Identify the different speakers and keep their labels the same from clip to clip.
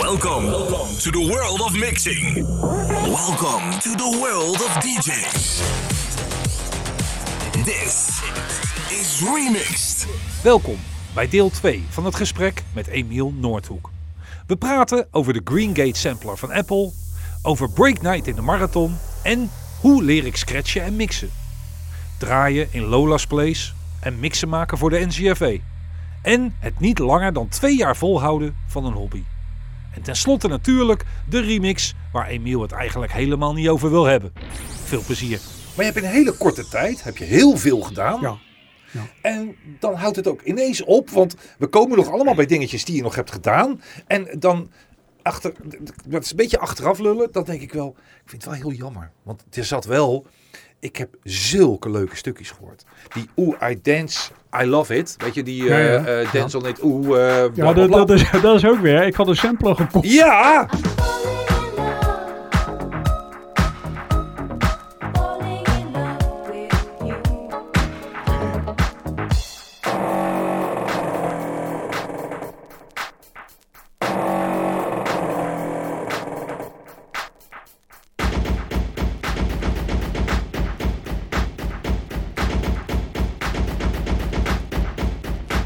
Speaker 1: Welcome to the world of mixing. Welcome to the world of DJs. This is Remixed.
Speaker 2: Welkom bij deel 2 van het gesprek met Emiel Noordhoek. We praten over de Greengate sampler van Apple, over Break Night in de marathon en hoe leer ik scratchen en mixen. Draaien in Lola's Place en mixen maken voor de NCFV. En het niet langer dan twee jaar volhouden van een hobby. En tenslotte natuurlijk de remix waar Emiel het eigenlijk helemaal niet over wil hebben. Veel plezier. Maar je hebt in een hele korte tijd heb je heel veel gedaan.
Speaker 3: Ja.
Speaker 2: En dan houdt het ook ineens op, want we komen nog allemaal bij dingetjes die je nog hebt gedaan. En dan, achter, dat is een beetje achteraf lullen, dan denk ik wel, ik vind het wel heel jammer. Want er zat wel, ik heb zulke leuke stukjes gehoord. Die Oeh, I Dance, I Love It. Weet je, die
Speaker 3: Ja,
Speaker 2: eh
Speaker 3: ja.
Speaker 2: eh, Dance on It, Oeh, eh, bla, bla,
Speaker 3: Ja, dat,
Speaker 2: bla.
Speaker 3: dat, is, dat is ook weer. Ik had een sampler gekocht.
Speaker 2: Ja!
Speaker 4: Falling in love with you.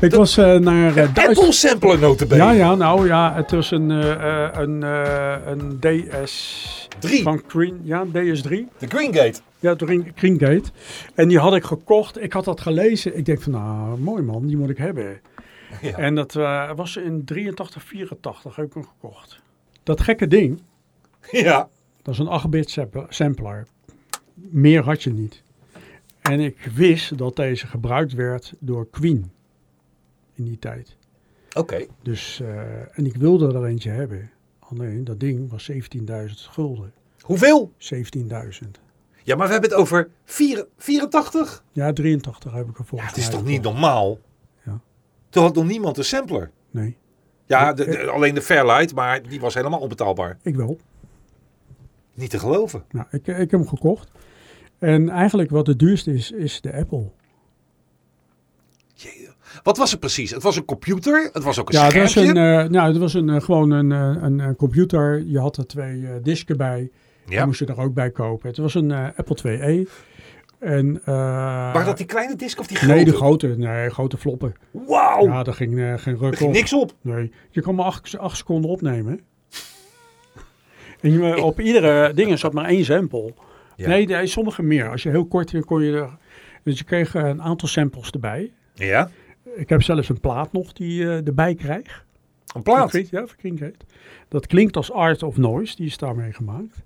Speaker 3: Ik was eh, naar eh, Duits-
Speaker 2: Apple sampler notabene.
Speaker 3: Ja, ja, nou ja, het was een, eh, eh, een, eh, een DS...
Speaker 2: Drie.
Speaker 3: Van Green, ja, DS3.
Speaker 2: De Green Gate.
Speaker 3: Ja, de Green- Greengate. En die had ik gekocht. Ik had dat gelezen. Ik denk van, nou, mooi man, die moet ik hebben.
Speaker 2: Ja.
Speaker 3: En dat eh, was in 83, 84 heb ik hem gekocht. Dat gekke ding,
Speaker 2: Ja.
Speaker 3: dat is een 8-bit sample- sampler. Meer had je niet. En ik wist dat deze gebruikt werd door Queen in die tijd.
Speaker 2: Oké.
Speaker 3: Dus, eh, en ik wilde er eentje hebben. Alleen, dat ding was 17.000 gulden.
Speaker 2: Hoeveel?
Speaker 3: 17.000.
Speaker 2: Ja, maar we hebben het over vier- 84?
Speaker 3: Ja, 83 heb ik er
Speaker 2: Ja,
Speaker 3: volgens
Speaker 2: het is
Speaker 3: mij
Speaker 2: toch
Speaker 3: gekocht.
Speaker 2: niet normaal?
Speaker 3: Ja.
Speaker 2: Toen had nog niemand een sampler.
Speaker 3: Nee,
Speaker 2: Ja, de-
Speaker 3: eh-
Speaker 2: de- alleen de Fairlight, maar die was helemaal onbetaalbaar.
Speaker 3: ik wel.
Speaker 2: Niet te geloven.
Speaker 3: Nou, ik, ik heb hem gekocht. En eigenlijk wat het duurste is, is de Apple.
Speaker 2: Jee. Wat was het precies? Het was een computer, het was ook een
Speaker 3: ja, dat was
Speaker 2: schermpje.
Speaker 3: een, eh, nou, dat was een, eh, gewoon een, eh, een, een computer. Je had er twee eh, disken bij. Die
Speaker 2: ja.
Speaker 3: moest je er ook bij kopen. Het was een eh, Apple IIe. En, eh
Speaker 2: Waren dat die kleine disc of die grote?
Speaker 3: Nee, de grote. Nee, grote floppen.
Speaker 2: Wauw,
Speaker 3: Ja, daar ging eh, geen
Speaker 2: er
Speaker 3: ruk
Speaker 2: ging
Speaker 3: op.
Speaker 2: niks op.
Speaker 3: Nee, je kan maar acht, acht seconden opnemen. En je- op iedere ding zat maar één sample.
Speaker 2: Ja.
Speaker 3: Nee, nee, sommige meer. Als je heel kort weer kon je er... Dus je kreeg eh, een aantal samples erbij.
Speaker 2: Ja,
Speaker 3: Ik heb zelfs een plaat nog die eh, erbij krijg.
Speaker 2: een plaat.
Speaker 3: Van Creed, Ja, van Creed. Dat klinkt als Art of Noise. Die is daarmee gemaakt.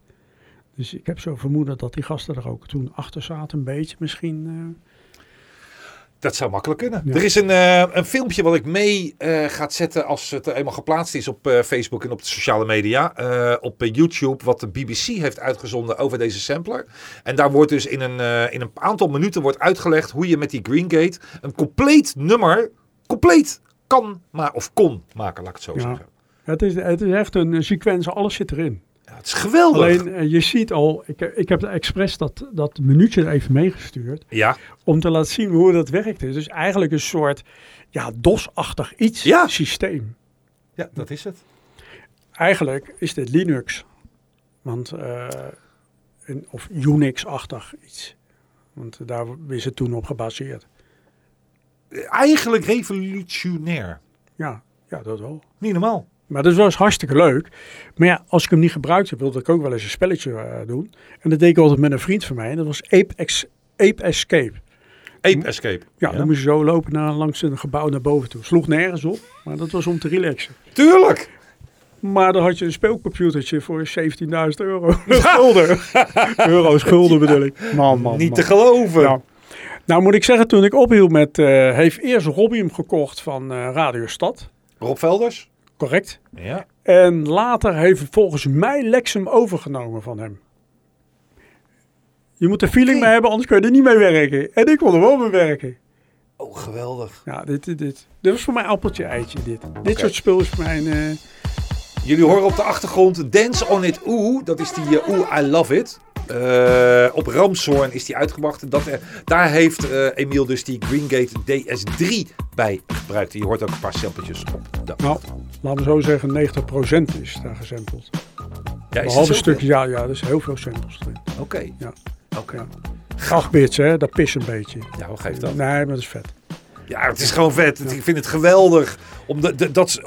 Speaker 3: Dus ik heb zo vermoeden dat die gasten er ook toen achter zaten. Een beetje misschien. eh.
Speaker 2: Dat zou makkelijk kunnen.
Speaker 3: Ja.
Speaker 2: Er is een, eh, een filmpje wat ik mee eh, gaat zetten als het eenmaal geplaatst is op eh, Facebook en op de sociale media. eh, op eh, YouTube, wat de BBC heeft uitgezonden over deze sampler. En daar wordt dus in een, eh, in een aantal minuten wordt uitgelegd hoe je met die Greengate een compleet nummer, compleet kan maken of kon maken, laat ik het zo
Speaker 3: Ja.
Speaker 2: zeggen.
Speaker 3: het, is, het is echt een eh, sequence. Alles zit erin.
Speaker 2: Ja, het is geweldig.
Speaker 3: Alleen eh, je ziet al, ik, heb- ik heb expres dat, dat minuutje er even meegestuurd.
Speaker 2: Ja,
Speaker 3: Om te laten zien hoe dat werkte. Dus eigenlijk een soort ja, DOS-achtig iets
Speaker 2: Ja.
Speaker 3: systeem.
Speaker 2: ja, dat is het.
Speaker 3: Eigenlijk is dit Linux. Want, eh, een- of Unix-achtig iets. Want daar is het toen op gebaseerd.
Speaker 2: Eigenlijk revolutionair.
Speaker 3: Ja, ja dat wel.
Speaker 2: Niet normaal.
Speaker 3: Maar dat was hartstikke leuk. Maar ja, als ik hem niet gebruikte, wilde ik ook wel eens een spelletje eh, doen. En dat deed ik altijd met een vriend van mij. En dat was Ape, Ex- Ape Escape.
Speaker 2: Ape Escape.
Speaker 3: Ja, dan moest je zo lopen naar, langs een gebouw naar boven toe. Sloeg nergens op, maar dat was om te relaxen.
Speaker 2: Tuurlijk!
Speaker 3: Maar dan had je een speelcomputertje voor 17.000 euro. Gulden. Euro's, gulden bedoel ik. Man, man,
Speaker 2: Niet
Speaker 3: man.
Speaker 2: te geloven.
Speaker 3: Ja. Nou moet ik zeggen, toen ik ophield met... eh, heeft eerst Robbie hem gekocht van eh, Radio Stad.
Speaker 2: Rob Velders.
Speaker 3: Correct.
Speaker 2: Ja.
Speaker 3: En later heeft volgens mij Lex hem overgenomen van hem. Je moet er feeling mee hebben, anders kun je er niet mee werken. En ik kon er wel mee werken.
Speaker 2: Oh, geweldig.
Speaker 3: Ja, dit, dit, dit. Dit was voor mij appeltje eitje, dit. Dit soort spul is voor mij een... eh,
Speaker 2: Jullie horen op de achtergrond Dance on it Oeh. Dat is die eh, Oeh, I love it. Eh, op Ramshoorn is die uitgebracht. Dat, eh, daar heeft eh, Emiel dus die Greengate DS3 bij gebruikt. Je hoort ook een paar sampletjes op. de-
Speaker 3: Nou, laten we zo zeggen, 90% is daar gesampled.
Speaker 2: Ja, is
Speaker 3: Behalve
Speaker 2: dat zo?
Speaker 3: stukjes, ja, ja, er zijn heel veel samples erin.
Speaker 2: Oké.
Speaker 3: Ja.
Speaker 2: Oké.
Speaker 3: Ja. 8 bits, hè, dat pis een beetje.
Speaker 2: Ja, hoe geeft dat?
Speaker 3: Nee, maar dat is vet.
Speaker 2: Ja, het is gewoon vet. Het- Ik vind het geweldig. Om de, de- dat, is-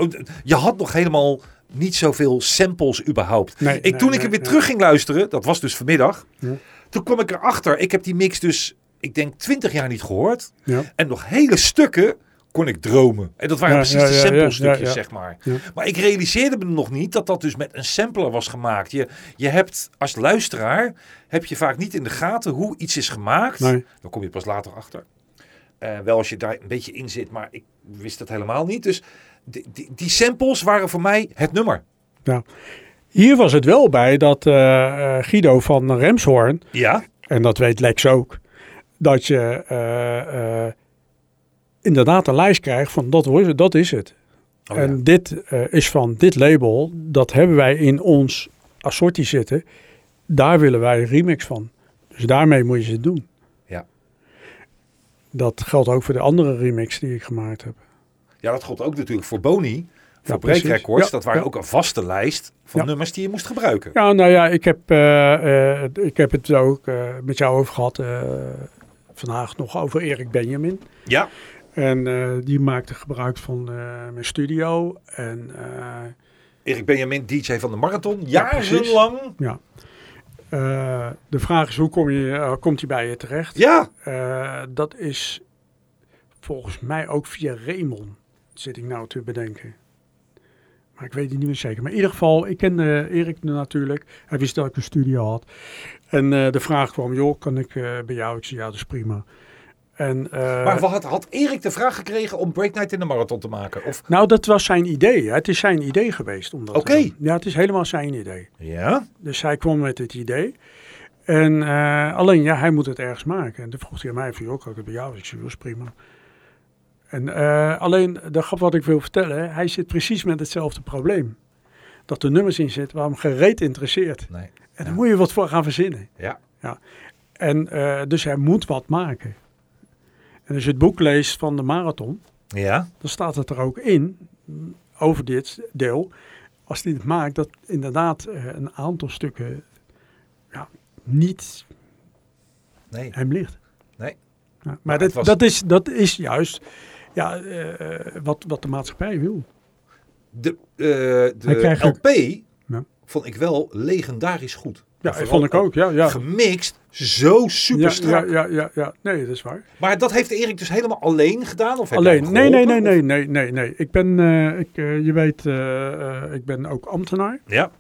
Speaker 2: je had nog helemaal niet zoveel samples überhaupt.
Speaker 3: Nee,
Speaker 2: ik,
Speaker 3: nee,
Speaker 2: toen ik
Speaker 3: nee,
Speaker 2: hem weer
Speaker 3: nee.
Speaker 2: terug ging luisteren, dat was dus vanmiddag.
Speaker 3: Ja.
Speaker 2: Toen kwam ik erachter. Ik heb die mix dus, ik denk, 20 jaar niet gehoord.
Speaker 3: Ja.
Speaker 2: En nog hele stukken kon ik dromen. En dat waren
Speaker 3: Ja,
Speaker 2: precies
Speaker 3: ja,
Speaker 2: de
Speaker 3: ja,
Speaker 2: sample
Speaker 3: ja,
Speaker 2: stukjes,
Speaker 3: ja, ja.
Speaker 2: zeg maar.
Speaker 3: Ja.
Speaker 2: Maar ik realiseerde me nog niet dat dat dus met een sampler was gemaakt. Je, je hebt als luisteraar, heb je vaak niet in de gaten hoe iets is gemaakt.
Speaker 3: Nee.
Speaker 2: Dan kom je pas later achter. Eh, wel als je daar een beetje in zit, maar ik wist dat helemaal niet. Dus die, die, die samples waren voor mij het nummer.
Speaker 3: Ja. Nou, Hier was het wel bij dat eh, eh, Guido van Remshoorn,
Speaker 2: Ja,
Speaker 3: en dat weet Lex ook, dat je eh, eh, inderdaad een lijst krijgt van dat, wordt het, dat is het.
Speaker 2: Oh,
Speaker 3: en dit eh, is van dit label, dat hebben wij in ons assortie zitten. Daar willen wij een remix van. Dus daarmee moet je ze doen.
Speaker 2: Ja.
Speaker 3: Dat geldt ook voor de andere remix die ik gemaakt heb.
Speaker 2: ja dat gold ook natuurlijk voor Boni. Voor Break
Speaker 3: precies.
Speaker 2: Records,
Speaker 3: Ja,
Speaker 2: dat waren
Speaker 3: ja.
Speaker 2: ook een vaste lijst van
Speaker 3: Ja.
Speaker 2: nummers die je moest gebruiken.
Speaker 3: Ja, nou ja, ik heb, eh, eh, ik heb het ook eh, met jou over gehad. eh, vandaag nog over Erik Benjamin.
Speaker 2: ja.
Speaker 3: En eh, die maakte gebruik van eh, mijn studio. En eh,
Speaker 2: Erik Benjamin, DJ van de Marathon.
Speaker 3: Ja, precies.
Speaker 2: Jarenlang.
Speaker 3: ja. Eh, de vraag is, hoe kom je, eh, komt hij bij je terecht?
Speaker 2: Ja.
Speaker 3: Eh, dat is volgens mij ook via Raymond, zit ik nou te bedenken. Maar ik weet het niet meer zeker. Maar in ieder geval, ik kende Erik natuurlijk. Hij wist dat ik een studio had. En eh, de vraag kwam, joh, kan ik eh, bij jou? Ik zei, ja, dat is prima. En, eh,
Speaker 2: Maar wat had, had Erik de vraag gekregen om Break Night in de Marathon te maken? Of...
Speaker 3: Nou, dat was zijn idee. hè. Het is zijn idee geweest. om dat te
Speaker 2: Oké.
Speaker 3: doen. Ja, het is helemaal zijn idee.
Speaker 2: Ja.
Speaker 3: Dus hij kwam met het idee. En eh, alleen, ja, hij moet het ergens maken. En toen vroeg hij aan mij, van, joh, kan ik het bij jou? Ik zei, dat is prima. En eh, alleen, de grap wat ik wil vertellen, hij zit precies met hetzelfde probleem. Dat er nummers in zitten waar hem gereed interesseert.
Speaker 2: Nee.
Speaker 3: En daar moet je wat voor gaan verzinnen.
Speaker 2: Ja.
Speaker 3: En eh, dus hij moet wat maken. En als je het boek leest van de marathon,
Speaker 2: Ja.
Speaker 3: dan staat het er ook in, mm, over dit deel, als hij het maakt, dat inderdaad eh, een aantal stukken ja, niet
Speaker 2: Nee.
Speaker 3: hem ligt.
Speaker 2: Nee.
Speaker 3: Ja, maar
Speaker 2: het
Speaker 3: dat,
Speaker 2: was-
Speaker 3: dat, is, dat is juist ja, eh, eh, wat, wat de maatschappij wil.
Speaker 2: De, eh,
Speaker 3: Hij
Speaker 2: de
Speaker 3: krijgt
Speaker 2: LP
Speaker 3: Ja.
Speaker 2: vond ik wel legendarisch goed.
Speaker 3: Ja,
Speaker 2: Vooral
Speaker 3: dat vond ik ook. Ja, ja.
Speaker 2: Gemixt, zo super
Speaker 3: Ja, ja,
Speaker 2: strak.
Speaker 3: ja, ja, ja. Nee, dat is waar.
Speaker 2: Maar dat heeft Erik dus helemaal alleen gedaan? Of heb je
Speaker 3: Alleen,
Speaker 2: hem
Speaker 3: nee, nee, nee,
Speaker 2: geholpen?
Speaker 3: nee, nee, nee, nee. Ik ben, eh, ik, eh, je weet, eh, eh, ik ben ook ambtenaar.
Speaker 2: Ja.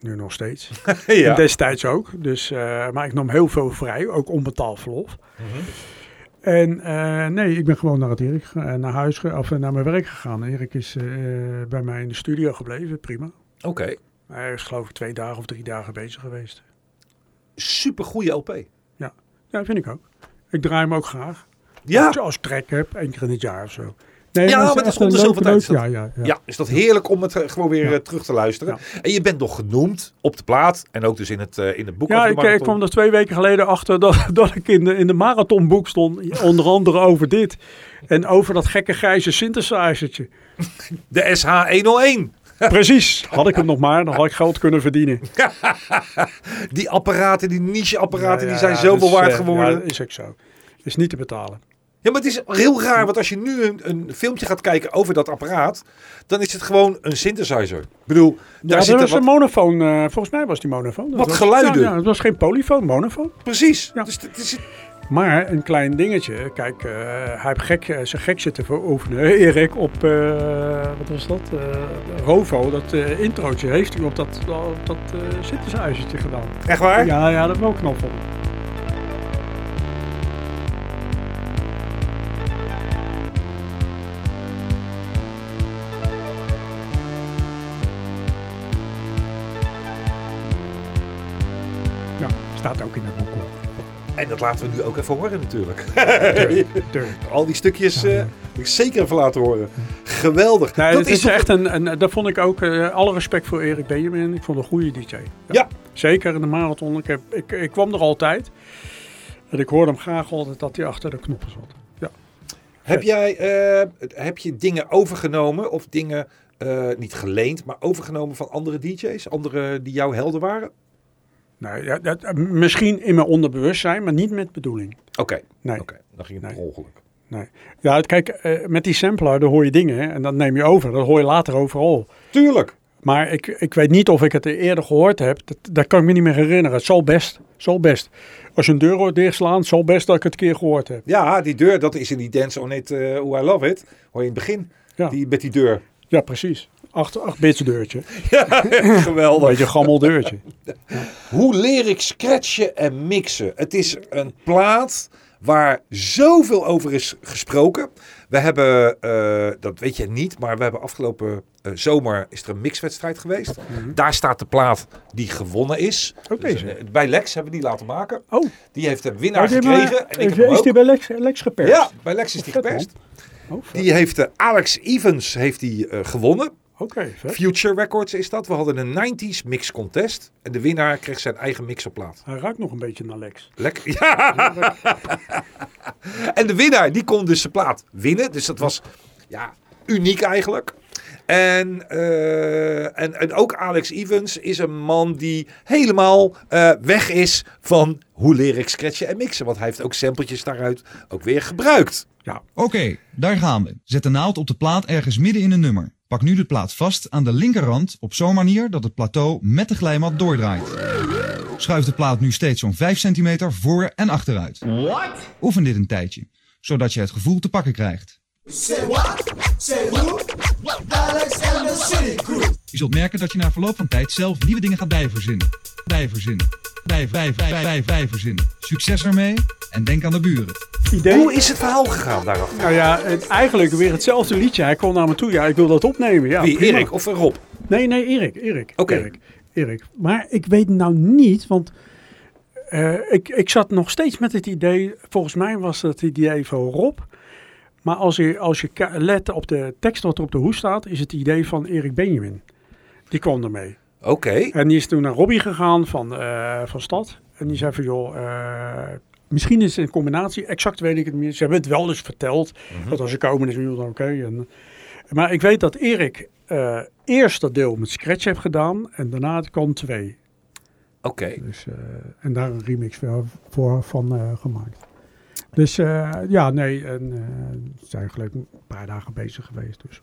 Speaker 3: Nu nog steeds. En
Speaker 2: ja.
Speaker 3: destijds ook. Dus, eh, maar ik nam heel veel vrij, ook onbetaald verlof.
Speaker 2: Mhm.
Speaker 3: En eh, nee, ik ben gewoon naar het Erik, ge- eh, naar huis, ge- of eh, naar mijn werk gegaan. Erik is eh, bij mij in de studio gebleven, prima.
Speaker 2: Oké.
Speaker 3: Hij is geloof ik twee dagen of drie dagen bezig geweest.
Speaker 2: Super goede LP.
Speaker 3: Ja, vind ik ook. Ik draai hem ook graag.
Speaker 2: Ja.
Speaker 3: Als, als ik trek heb, één keer in het jaar of zo. Nee,
Speaker 2: Ja, maar
Speaker 3: is
Speaker 2: dat is
Speaker 3: echt een
Speaker 2: onder zoveel
Speaker 3: leuke
Speaker 2: tijd is
Speaker 3: leuk-
Speaker 2: dat.
Speaker 3: Ja, ja, ja.
Speaker 2: Ja, is dat heerlijk om het eh, gewoon weer
Speaker 3: Ja.
Speaker 2: eh, terug te luisteren. En je bent nog genoemd op de plaat en ook dus in het, eh, in het boek.
Speaker 3: Ja,
Speaker 2: over de
Speaker 3: ik, ik
Speaker 2: marathon.
Speaker 3: kwam er twee weken geleden achter dat, dat ik in de, in de marathonboek stond. Onder andere over dit. En over dat gekke grijze synthesizertje.
Speaker 2: De SH101.
Speaker 3: Precies. Had ik hem nog maar, dan had ik geld kunnen verdienen.
Speaker 2: Die apparaten, die niche-apparaten, die
Speaker 3: Ja, ja,
Speaker 2: zijn
Speaker 3: ja,
Speaker 2: zoveel
Speaker 3: dus,
Speaker 2: waard
Speaker 3: eh,
Speaker 2: geworden.
Speaker 3: Ja, dat is ook zo. Is niet te betalen.
Speaker 2: Ja, maar het is heel
Speaker 3: Mm.
Speaker 2: raar, want als je nu een, een filmpje gaat kijken over dat apparaat, dan is het gewoon een synthesizer. Ik bedoel, daar
Speaker 3: Ja,
Speaker 2: zit
Speaker 3: dat
Speaker 2: er
Speaker 3: was
Speaker 2: wat,
Speaker 3: een monofoon. eh, volgens mij was die monofoon. Dat
Speaker 2: Wat
Speaker 3: was-
Speaker 2: geluiden.
Speaker 3: Ja, ja, het was geen polyfoon, monofoon.
Speaker 2: precies.
Speaker 3: Ja.
Speaker 2: Dus het is,
Speaker 3: Maar een klein dingetje. Kijk, eh, hij heeft gek, eh, zijn gek zitten veroveren. Erik op, eh, wat was dat? Eh, Rovo, dat eh, introotje heeft hij op dat, op dat eh synthesizertje gedaan.
Speaker 2: echt waar?
Speaker 3: Ja, ja, dat wel knap vond. Ja, staat ook in het boek. hoor.
Speaker 2: En dat laten we nu ook even horen natuurlijk.
Speaker 3: Tuurlijk.
Speaker 2: Al die stukjes eh, moet ik zeker even laten horen. Geweldig.
Speaker 3: Nee,
Speaker 2: dat
Speaker 3: het is
Speaker 2: toch-
Speaker 3: echt een, een, dat vond ik ook, eh, alle respect voor Erik Benjamin, ik vond een goede DJ.
Speaker 2: Ja,
Speaker 3: Zeker in de marathon. Ik, heb, ik, ik kwam er altijd. En ik hoorde hem graag altijd dat hij achter de knoppen zat. Ja.
Speaker 2: Heb jij eh, heb je dingen overgenomen of dingen eh, niet geleend, maar overgenomen van andere DJ's? Andere die jouw helden waren?
Speaker 3: Nou, ja, dat, misschien in mijn onderbewustzijn, maar niet met bedoeling.
Speaker 2: Oké,
Speaker 3: Nee.
Speaker 2: oké. Dan ging het per ongeluk.
Speaker 3: nee. Ja, het- kijk, eh, met die sampler, daar hoor je dingen hè, en dat neem je over. Dat hoor je later overal.
Speaker 2: Tuurlijk.
Speaker 3: Maar ik, ik weet niet of ik het eerder gehoord heb. Dat, dat kan ik me niet meer herinneren. Het zal best. Zal best. Als je een deur hoort dichtslaan, het zal best dat ik het een keer gehoord heb.
Speaker 2: Ja, die deur, dat is in die Dance On It, eh Hoe I Love It. Hoor je in het begin,
Speaker 3: Ja.
Speaker 2: die, met die deur.
Speaker 3: Ja, precies. Acht, acht bits deurtje. Een
Speaker 2: Geweldig.
Speaker 3: beetje gammel deurtje.
Speaker 2: Hoe leer ik scratchen en mixen? Het is een plaat waar zoveel over is gesproken. We hebben, eh, dat weet je niet, maar we hebben afgelopen eh, zomer is er een mixwedstrijd geweest. Daar staat de plaat die gewonnen is.
Speaker 3: Mhm. Ook
Speaker 2: Dus,
Speaker 3: deze?
Speaker 2: eh, bij Lex hebben we die laten maken.
Speaker 3: Oh,
Speaker 2: Die heeft een winnaar
Speaker 3: die hebben-
Speaker 2: gekregen. en ik heb
Speaker 3: is,
Speaker 2: hem
Speaker 3: is
Speaker 2: ook.
Speaker 3: die bij Lex, Lex geperst?
Speaker 2: Ja, bij Lex is die
Speaker 3: Vet, man.
Speaker 2: geperst.
Speaker 3: Oh, vet.
Speaker 2: Die heeft eh, Alex Evans heeft die, eh, gewonnen.
Speaker 3: Oké, vet.
Speaker 2: Future Records is dat. We hadden een 90s mix contest. En de winnaar kreeg zijn eigen mixerplaat.
Speaker 3: Hij ruikt nog een beetje naar Lex.
Speaker 2: Lekker. Ja. en de winnaar, die kon dus zijn plaat winnen. Dus dat was ja, uniek eigenlijk. En, eh, en, en ook Alex Evans is een man die helemaal eh, weg is van hoe leer ik scratchen en mixen. Want hij heeft ook sampletjes daaruit ook weer gebruikt.
Speaker 5: Oké, daar gaan we. Zet de naald op de plaat ergens midden in een nummer. Pak nu de plaat vast aan de linkerrand op zo'n manier dat het plateau met de glijmat doordraait. Schuif de plaat nu steeds zo'n 5 centimeter voor en achteruit. What? Oefen dit een tijdje, zodat je het gevoel te pakken krijgt. Je zult merken dat je na verloop van tijd zelf nieuwe dingen gaat bijverzinnen. Bijverzinnen. Bij, bij, bij, bij, bijverzinnen. Succes ermee en denk aan de buren.
Speaker 3: Idee?
Speaker 2: Hoe is het verhaal gegaan daarachter?
Speaker 3: Nou ja, het, eigenlijk weer hetzelfde liedje. Hij kwam naar me toe. Ja, ik wil dat opnemen. Ja,
Speaker 2: Wie,
Speaker 3: prima.
Speaker 2: Erik of Rob?
Speaker 3: Nee, nee, Erik. Erik.
Speaker 2: Oké.
Speaker 3: Erik, Erik. Maar ik weet nou niet, want eh, ik, ik zat nog steeds met het idee, volgens mij was dat het idee van Rob. Maar als je, als je ka- let op de tekst wat er op de hoes staat, is het idee van Erik Benjamin. Die kwam ermee.
Speaker 2: Oké.
Speaker 3: En die is toen naar Robbie gegaan van, eh, van Stad. En die zei van, joh, eh, misschien is het een combinatie. Exact weet ik het niet. Ze hebben het wel eens verteld. Dat als ze komen is, joh, dan oké. En- Maar ik weet dat Erik eh, eerst dat deel met Scratch heeft gedaan. En daarna het kwam twee.
Speaker 2: Oké.
Speaker 3: Dus, eh, en daar een remix voor, voor van eh, gemaakt. Dus eh, ja, nee. En eh, we zijn gelijk een paar dagen bezig geweest. Dus.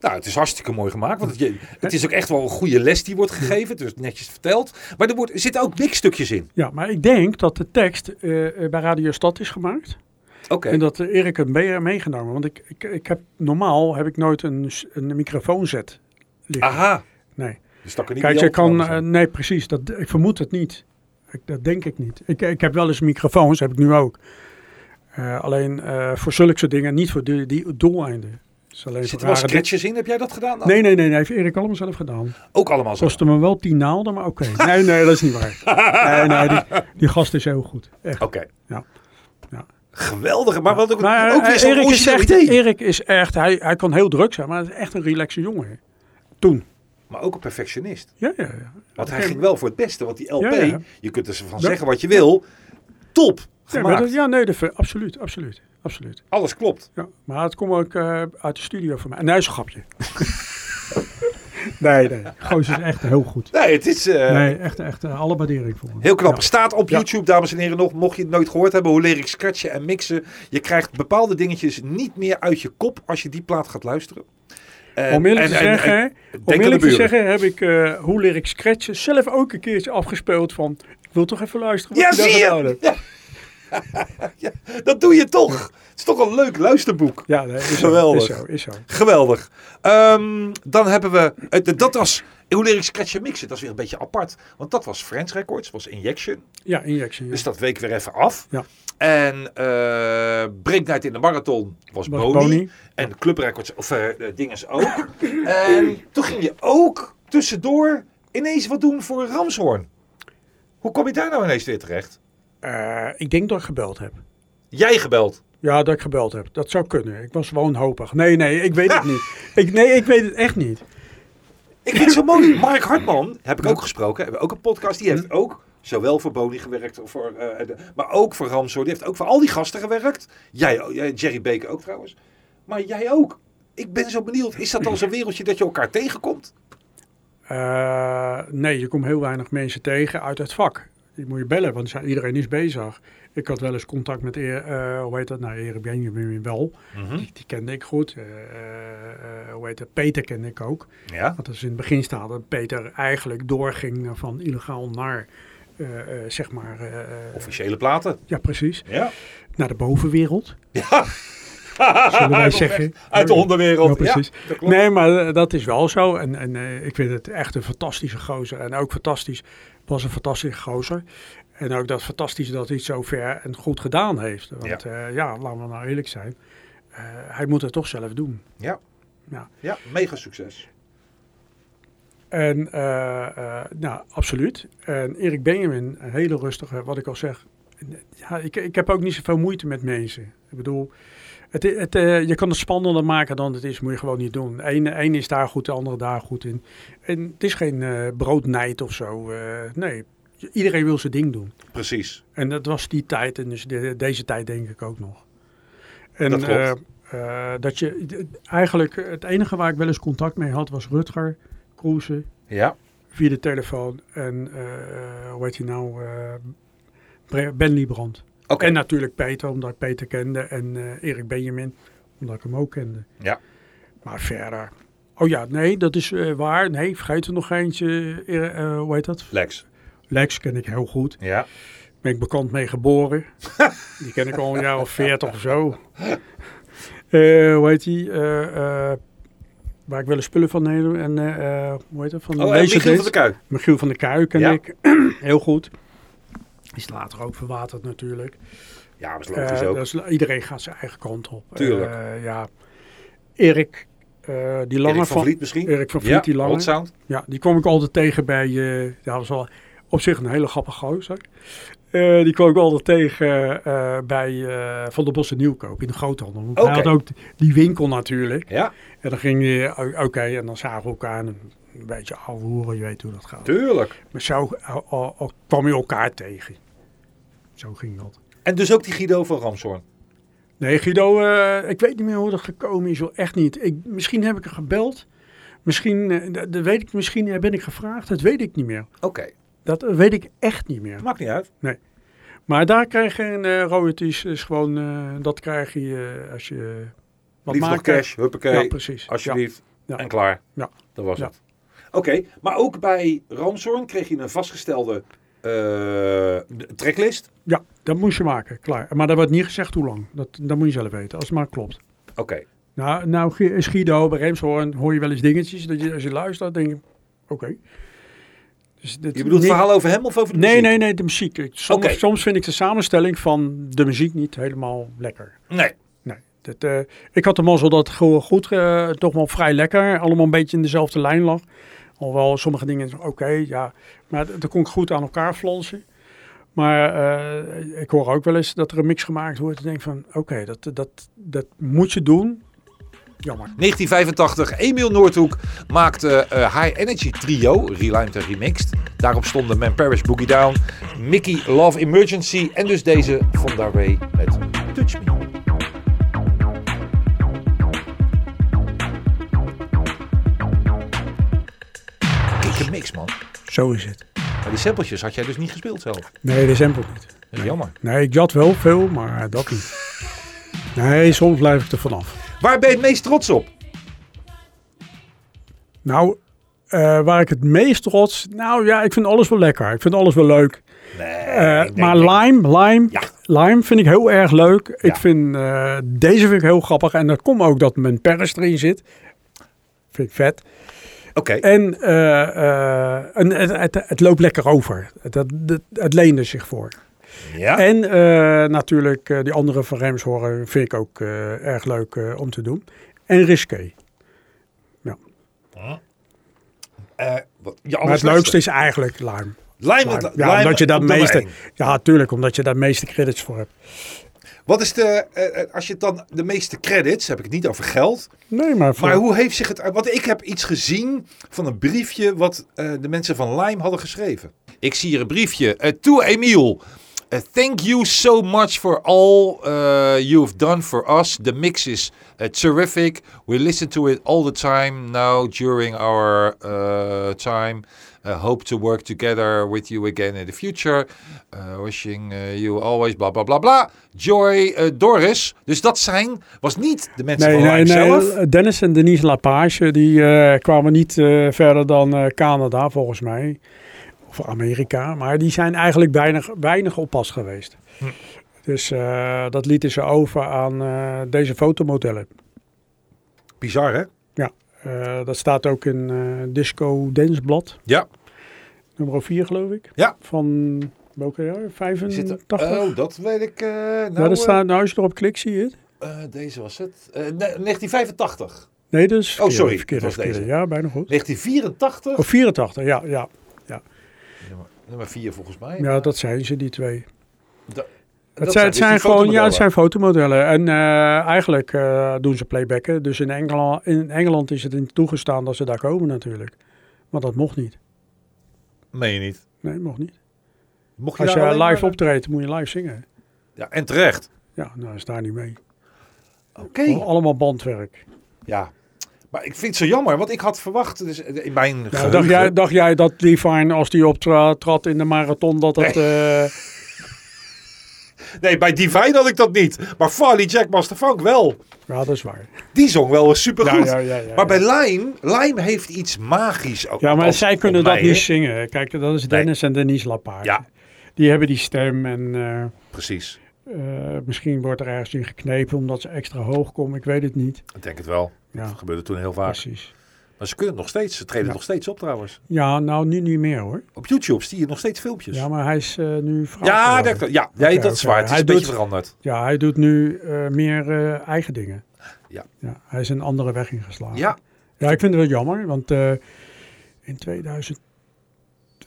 Speaker 2: Nou, het is hartstikke mooi gemaakt. Want het, je- het is ook echt wel een goede les die wordt gegeven. Het is netjes verteld. Maar er, wordt, er zitten ook stukjes in.
Speaker 3: Ja, maar ik denk dat de tekst eh, eh, bij Radio Stad is gemaakt.
Speaker 2: Oké.
Speaker 3: En dat eh, Erik het mee, meegenomen. Want ik, ik, ik heb, normaal heb ik nooit een, s- een microfoonzet liggen.
Speaker 2: Aha.
Speaker 3: Nee.
Speaker 2: Dus dat kan niet
Speaker 3: Kijk,
Speaker 2: bij jou
Speaker 3: je kan... eh,
Speaker 2: opgenomen
Speaker 3: nee, precies. Dat, ik vermoed het niet. Ik, dat denk ik niet. Ik, ik heb wel eens microfoons, heb ik nu ook. Eh, alleen eh, voor zulke soort dingen, niet voor die, die doeleinden. Dus alleen
Speaker 2: zijn.
Speaker 3: voor
Speaker 2: Zitten wel
Speaker 3: rare dingen.
Speaker 2: sketches in? Heb jij dat gedaan? dan?
Speaker 3: Nee, nee, nee, nee. Heeft Erik allemaal zelf gedaan.
Speaker 2: Ook allemaal zo.
Speaker 3: Kostte me wel tien naalden, maar oké. Nee, nee, dat is niet waar. Nee, nee, die, die gast is heel goed. Echt.
Speaker 2: Oké.
Speaker 3: Ja. Ja.
Speaker 2: Geweldig. Maar wat ook,
Speaker 3: Maar eh,
Speaker 2: ook weer zo'n
Speaker 3: Erik, is
Speaker 2: origineel
Speaker 3: echt,
Speaker 2: idee.
Speaker 3: Erik is echt, hij, hij kan heel druk zijn, maar hij is echt een relaxe jongen. Toen.
Speaker 2: Maar ook een perfectionist.
Speaker 3: Ja, ja, ja.
Speaker 2: Want hij
Speaker 3: Oké.
Speaker 2: ging wel voor het beste. Want die LP,
Speaker 3: Ja, ja.
Speaker 2: je kunt er van
Speaker 3: Ja.
Speaker 2: zeggen wat je wil. Top.
Speaker 3: Ja, maar
Speaker 2: Gemaakt.
Speaker 3: dat, ja nee, dat, vind- absoluut, absoluut, absoluut.
Speaker 2: Alles klopt.
Speaker 3: Ja. Maar het komt ook eh, uit de studio van mij. En hij is een grapje. nee, nee. Goos is echt heel goed.
Speaker 2: Nee, het is... eh,
Speaker 3: Nee, echt, echt eh, alle waardering voor hem.
Speaker 2: Heel knap.
Speaker 3: Ja.
Speaker 2: Staat op
Speaker 3: Ja.
Speaker 2: YouTube, dames en heren, nog. Mocht je het nooit gehoord hebben, hoe leer ik scratchen en mixen. Je krijgt bepaalde dingetjes niet meer uit je kop als je die plaat gaat luisteren. En-
Speaker 3: Om eerlijk te
Speaker 2: en- en-
Speaker 3: zeggen,
Speaker 2: en-
Speaker 3: hè,
Speaker 2: denk aan
Speaker 3: om
Speaker 2: de
Speaker 3: eerlijk te
Speaker 2: buren.
Speaker 3: zeggen heb ik eh, Hoe leer ik scratchen zelf ook een keertje afgespeeld van... Ik wil toch even luisteren
Speaker 2: Ja,
Speaker 3: wat je daar
Speaker 2: zie
Speaker 3: gedaan
Speaker 2: je!
Speaker 3: hebt.
Speaker 2: Ja. Ja, dat doe je toch. Het is toch een leuk luisterboek.
Speaker 3: Ja, nee, is zo,
Speaker 2: Geweldig.
Speaker 3: is zo, is zo.
Speaker 2: Geweldig. Ehm, dan hebben we... het- dat was... Hoe leer ik scratchen en mixen? Dat is weer een beetje apart. Want dat was French Records, was Injection.
Speaker 3: Ja, injection. ja.
Speaker 2: Dus dat week weer even af.
Speaker 3: Ja.
Speaker 2: En eh Breaknight in de Marathon was,
Speaker 3: Was
Speaker 2: Boni.
Speaker 3: Boni.
Speaker 2: En de Club Records, of eh eh, dinges ook. en toen ging je ook tussendoor ineens wat doen voor Ramshoorn. Hoe kom je daar nou ineens weer terecht?
Speaker 3: Eh, ik denk dat ik gebeld heb.
Speaker 2: Jij gebeld.
Speaker 3: Ja, dat ik gebeld heb. Dat zou kunnen. Ik was wanhopig. Nee, nee, ik weet het niet. Ik, nee, ik weet het echt niet.
Speaker 2: Ik vind het zo mooi. Mark Hartman heb ik ook gesproken. Hebben we ook een podcast. Die heeft ook zowel voor Boni gewerkt, voor, eh, de- maar ook voor Ramsor. Die heeft ook voor al die gasten gewerkt. Jij, ook, eh, Jerry Baker ook trouwens. Maar jij ook. Ik ben zo benieuwd. Is dat dan zo'n wereldje dat je elkaar tegenkomt?
Speaker 3: Eh, nee, je komt heel weinig mensen tegen uit het vak. Je moet je bellen, want ja, iedereen is bezig. Ik had wel eens contact met, eer, eh, hoe heet dat, nou, Erik Benjamin wel. die, die kende ik goed. Eh, eh, eh, hoe heet dat, Peter kende ik ook.
Speaker 2: Ja.
Speaker 3: Want dat is in het begin staat dat Peter eigenlijk doorging eh, van illegaal naar, eh, eh, zeg maar, eh, eh,
Speaker 2: Officiële platen.
Speaker 3: ja precies,
Speaker 2: Ja.
Speaker 3: naar de bovenwereld.
Speaker 2: ja.
Speaker 3: Zullen wij zeggen.
Speaker 2: Uit de
Speaker 3: Ja,
Speaker 2: onderwereld. Ja,
Speaker 3: precies.
Speaker 2: dat klopt.
Speaker 3: nee, maar eh, dat is wel zo. En, en eh, ik vind het echt een fantastische gozer. En ook fantastisch, was een fantastische gozer. En ook dat fantastisch dat hij het zo ver en goed gedaan heeft. Want ja, ja laten we nou eerlijk zijn. eh, hij moet het toch zelf doen.
Speaker 2: Ja.
Speaker 3: Ja.
Speaker 2: ja, mega succes.
Speaker 3: En eh, eh, nou, absoluut. En Erik Benjamin, een hele rustige, wat ik al zeg. Ja, ik, ik heb ook niet zoveel moeite met mensen. Ik bedoel, het, i- het, eh, je kan het spannender maken dan het is. Moet je gewoon niet doen. Eén één is daar goed, de andere daar goed in. En het is geen eh broodnijd of zo. eh, nee, iedereen wil zijn ding doen.
Speaker 2: Precies.
Speaker 3: En dat was die tijd en dus de- deze tijd denk ik ook nog. En
Speaker 2: Dat klopt.
Speaker 3: eh, eh, dat je d- eigenlijk het enige waar ik wel eens contact mee had was Rutger, Kroeze,
Speaker 2: Ja.
Speaker 3: via de telefoon. En eh, hoe heet hij nou? eh, Bre- ben Liebrand.
Speaker 2: Oké.
Speaker 3: En natuurlijk Peter, omdat ik Peter kende. En eh, Erik Benjamin, omdat ik hem ook kende.
Speaker 2: Ja.
Speaker 3: Maar verder. Oh ja, nee, dat is eh, waar. Nee, vergeet er nog eentje. Eh, eh, hoe heet dat?
Speaker 2: Lex. Oh,
Speaker 3: Lex ken ik heel goed.
Speaker 2: Ja.
Speaker 3: ben ik bekend mee geboren. die ken ik al een jaar of veertig of zo. Eh, hoe heet die? Eh, eh, waar ik wel eens spullen van neem. En eh, eh, hoe heet dat? Van
Speaker 2: Oh, en
Speaker 3: Laserdisc.
Speaker 2: Michiel van de Kuik.
Speaker 3: Michiel van der Kuij ken
Speaker 2: Ja.
Speaker 3: ik. Heel goed. Is later ook verwaterd natuurlijk.
Speaker 2: Ja, maar is logisch
Speaker 3: Eh,
Speaker 2: ook.
Speaker 3: dat is la- iedereen gaat zijn eigen kant op.
Speaker 2: Tuurlijk.
Speaker 3: Eh, ja. Erik, eh, die lange
Speaker 2: Erik van Vliet misschien?
Speaker 3: Erik van Vliet, die lange.
Speaker 2: Hot Sound.
Speaker 3: Ja, die kwam ik altijd tegen bij. eh ja, dat was wel op zich een hele grappige gozer. Eh, die kwam ik altijd tegen eh, bij eh, Van der Bos en Nieuwkoop in de groothandel. Want
Speaker 2: Oké.
Speaker 3: Hij had ook die winkel natuurlijk.
Speaker 2: Ja,
Speaker 3: En dan ging je, o- oké, en dan zagen we elkaar en een beetje afhoeren, je weet hoe dat gaat.
Speaker 2: tuurlijk.
Speaker 3: Maar zo al- al- al kwam je elkaar tegen. Zo ging dat.
Speaker 2: En dus ook die Guido van Ramshoorn.
Speaker 3: Nee, Guido, eh, ik weet niet meer hoe dat gekomen is. Hoor. Echt niet. Ik, misschien heb ik er gebeld. Misschien, eh, dat- dat weet ik, misschien eh, ben ik gevraagd. Dat weet ik niet meer.
Speaker 2: Oké,
Speaker 3: Dat eh, weet ik echt niet meer.
Speaker 2: maakt niet uit.
Speaker 3: Maar daar krijg je een eh, royalties, is gewoon, eh, dat krijg je eh, als je eh, wat
Speaker 2: Liefst nog
Speaker 3: maakt. hè.
Speaker 2: cash, huppakee,
Speaker 3: ja, precies.
Speaker 2: alsjeblieft.
Speaker 3: Ja.
Speaker 2: En klaar.
Speaker 3: Ja.
Speaker 2: Dat was
Speaker 3: Ja.
Speaker 2: het. Oké, maar ook bij Ramshoorn kreeg je een vastgestelde eh tracklist.
Speaker 3: Ja. ja, dat moest je maken, klaar. Maar daar wordt niet gezegd hoe lang. Dat, dat moet je zelf weten, als het maar klopt.
Speaker 2: Oké,
Speaker 3: Nou, nou Gu- is Guido bij Remshoorn hoor je wel eens dingetjes. Dat je, als je luistert, denk je, oké. Dus dit-
Speaker 2: je bedoelt
Speaker 3: niet-
Speaker 2: het verhaal over hem of over de
Speaker 3: Nee,
Speaker 2: muziek?
Speaker 3: nee, nee, de muziek. Ik- Soms,
Speaker 2: Oké.
Speaker 3: soms vind ik de samenstelling van de muziek niet helemaal lekker.
Speaker 2: Nee,
Speaker 3: Nee, dat, eh, ik had de mazzel dat het gewoon goed, eh, toch wel vrij lekker, allemaal een beetje in dezelfde lijn lag. Alhoewel sommige dingen, oké, ja, maar d- dat kon ik goed aan elkaar flansen. Maar eh, ik hoor ook wel eens dat er een mix gemaakt wordt. Ik denk van, oké, dat, dat, dat moet je doen. Jammer.
Speaker 2: 1985, Emiel Noordhoek maakte eh, High Energy Trio, relimed en remixed. Daarop stonden Man Paris Boogie Down, Mickey Love Emergency en dus deze Fonda Way met Touch Me. Kikke mix man.
Speaker 3: Zo is het.
Speaker 2: Maar die sampletjes had jij dus niet gespeeld zelf.
Speaker 3: Nee, de sample niet.
Speaker 2: Dat is jammer.
Speaker 3: Nee, ik jat wel veel, maar dat niet. Nee, soms blijf ik er vanaf.
Speaker 2: Waar ben je het meest trots op?
Speaker 3: Nou, eh, waar ik het meest trots... Nou ja, ik vind alles wel lekker. Ik vind alles wel leuk. Eh, maar Lime, Lime,
Speaker 2: Ja.
Speaker 3: Lime vind ik heel erg leuk.
Speaker 2: Ja.
Speaker 3: Ik vind, eh, deze vind ik heel grappig. En dat komt ook dat mijn Paris erin zit. Vind ik vet.
Speaker 2: Oké,
Speaker 3: En, eh, eh, en het, het, het loopt lekker over. Het, het, het, het leende zich voor.
Speaker 2: ja.
Speaker 3: En eh, natuurlijk eh, die andere van Remshoren vind ik ook eh, erg leuk eh, om te doen. En Risqué.
Speaker 2: Eh, wat, je
Speaker 3: Maar het leukste is eigenlijk Lime.
Speaker 2: Lime,
Speaker 3: Lime.
Speaker 2: Lime-
Speaker 3: Ja, omdat je daar
Speaker 2: nummer
Speaker 3: meeste,
Speaker 2: één.
Speaker 3: ja, tuurlijk, omdat je daar meeste credits voor hebt.
Speaker 2: Wat is de, eh, eh, als je het dan de meeste credits, heb ik het niet over geld.
Speaker 3: Nee, maar, voor-
Speaker 2: Maar hoe heeft zich het, want ik heb iets gezien van een briefje wat eh, de mensen van Lime hadden geschreven. Ik zie hier een briefje. eh to Emiel. Eh, thank you so much for all eh, you've done for us. The mix is eh, terrific. We listen to it all the time now during our eh, time. Eh, hope to work together with you again in the future. Eh, wishing eh, you always bla bla bla bla. Joy eh, Doris. Dus dat zijn, was niet de mensen
Speaker 3: Nee,
Speaker 2: van
Speaker 3: nee,
Speaker 2: Lime zelf.
Speaker 3: nee, Dennis en Denise Lapage die eh, kwamen niet eh, verder dan eh, Canada volgens mij. Of Amerika. Maar die zijn eigenlijk weinig, weinig oppas geweest.
Speaker 2: Hm.
Speaker 3: Dus eh, dat lieten ze over aan eh, deze fotomodellen.
Speaker 2: Bizar hè?
Speaker 3: Eh, dat staat ook in eh, Disco Dansblad,
Speaker 2: Ja.
Speaker 3: nummer 4 geloof ik.
Speaker 2: Ja.
Speaker 3: Van welke jaar?
Speaker 2: Is het-
Speaker 3: 85?
Speaker 2: oh, dat weet ik. eh, nou,
Speaker 3: ja, dat
Speaker 2: eh,
Speaker 3: staat, nou, als je erop klikt, zie je het.
Speaker 2: eh, deze was het. Eh, ne- 1985.
Speaker 3: Nee, dus verkeerde,
Speaker 2: Oh, sorry,
Speaker 3: Verkeerde,
Speaker 2: dat was
Speaker 3: verkeerde.
Speaker 2: deze.
Speaker 3: Ja, bijna goed.
Speaker 2: 1984.
Speaker 3: Of 84, ja, ja.
Speaker 2: Nummer- Nummer 4 volgens mij.
Speaker 3: Ja, dat zijn ze, die twee.
Speaker 2: Dat-
Speaker 3: Het zijn,
Speaker 2: dus
Speaker 3: het
Speaker 2: die
Speaker 3: zijn gewoon, ja,
Speaker 2: fotomodellen.
Speaker 3: het zijn fotomodellen. En eh, eigenlijk eh, doen ze playbacken. Dus in Engeland, in Engeland is het niet toegestaan dat ze daar komen natuurlijk. Want dat mocht niet.
Speaker 2: Meen je niet.
Speaker 3: Nee, mocht niet.
Speaker 2: Mocht je
Speaker 3: Als
Speaker 2: daar
Speaker 3: je
Speaker 2: alleen
Speaker 3: live
Speaker 2: maar-
Speaker 3: optreedt, moet je live zingen.
Speaker 2: Ja, en terecht.
Speaker 3: Ja, nou is daar niet mee.
Speaker 2: Oké.
Speaker 3: Allemaal bandwerk.
Speaker 2: Ja. Maar ik vind het zo jammer, want ik had verwacht, dus in mijn
Speaker 3: Ja,
Speaker 2: geheugen-
Speaker 3: dacht, jij, dacht jij dat Levine, als die optrad in de marathon, dat dat... eh,
Speaker 2: Nee, bij Divine had ik dat niet. Maar Farley Jack Master Funk wel.
Speaker 3: ja, dat is waar.
Speaker 2: Die zong wel supergoed.
Speaker 3: Ja, ja, ja, ja,
Speaker 2: maar bij
Speaker 3: ja.
Speaker 2: Lime, Lime heeft iets magisch. Ook,
Speaker 3: Ja, maar
Speaker 2: Althans,
Speaker 3: zij kunnen dat
Speaker 2: volgens mij,
Speaker 3: niet
Speaker 2: hè?
Speaker 3: zingen. Kijk, dat is Dennis en Denise Lapaard.
Speaker 2: Ja.
Speaker 3: Die hebben die stem en... eh,
Speaker 2: Precies.
Speaker 3: Eh, misschien wordt er ergens in geknepen omdat ze extra hoog komen. Ik weet het niet.
Speaker 2: Ik denk het wel.
Speaker 3: Ja,
Speaker 2: Dat gebeurde toen heel vaak.
Speaker 3: precies.
Speaker 2: Maar ze kunnen het nog steeds. Ze treden
Speaker 3: Ja.
Speaker 2: nog steeds op trouwens.
Speaker 3: Ja, nou nu niet meer hoor.
Speaker 2: Op YouTube zie je nog steeds filmpjes.
Speaker 3: Ja,
Speaker 2: Ja,
Speaker 3: maar hij is eh, nu vrouw
Speaker 2: ja,
Speaker 3: geworden.
Speaker 2: dat, ja nee,
Speaker 3: Oké,
Speaker 2: dat is
Speaker 3: oké.
Speaker 2: waar. Het is
Speaker 3: Hij
Speaker 2: een beetje
Speaker 3: doet-
Speaker 2: veranderd.
Speaker 3: ja, hij doet nu eh, meer eh, eigen dingen.
Speaker 2: Ja.
Speaker 3: Hij is een andere weg ingeslagen.
Speaker 2: Ja,
Speaker 3: Ja, ik vind het wel jammer, want eh, in 2000,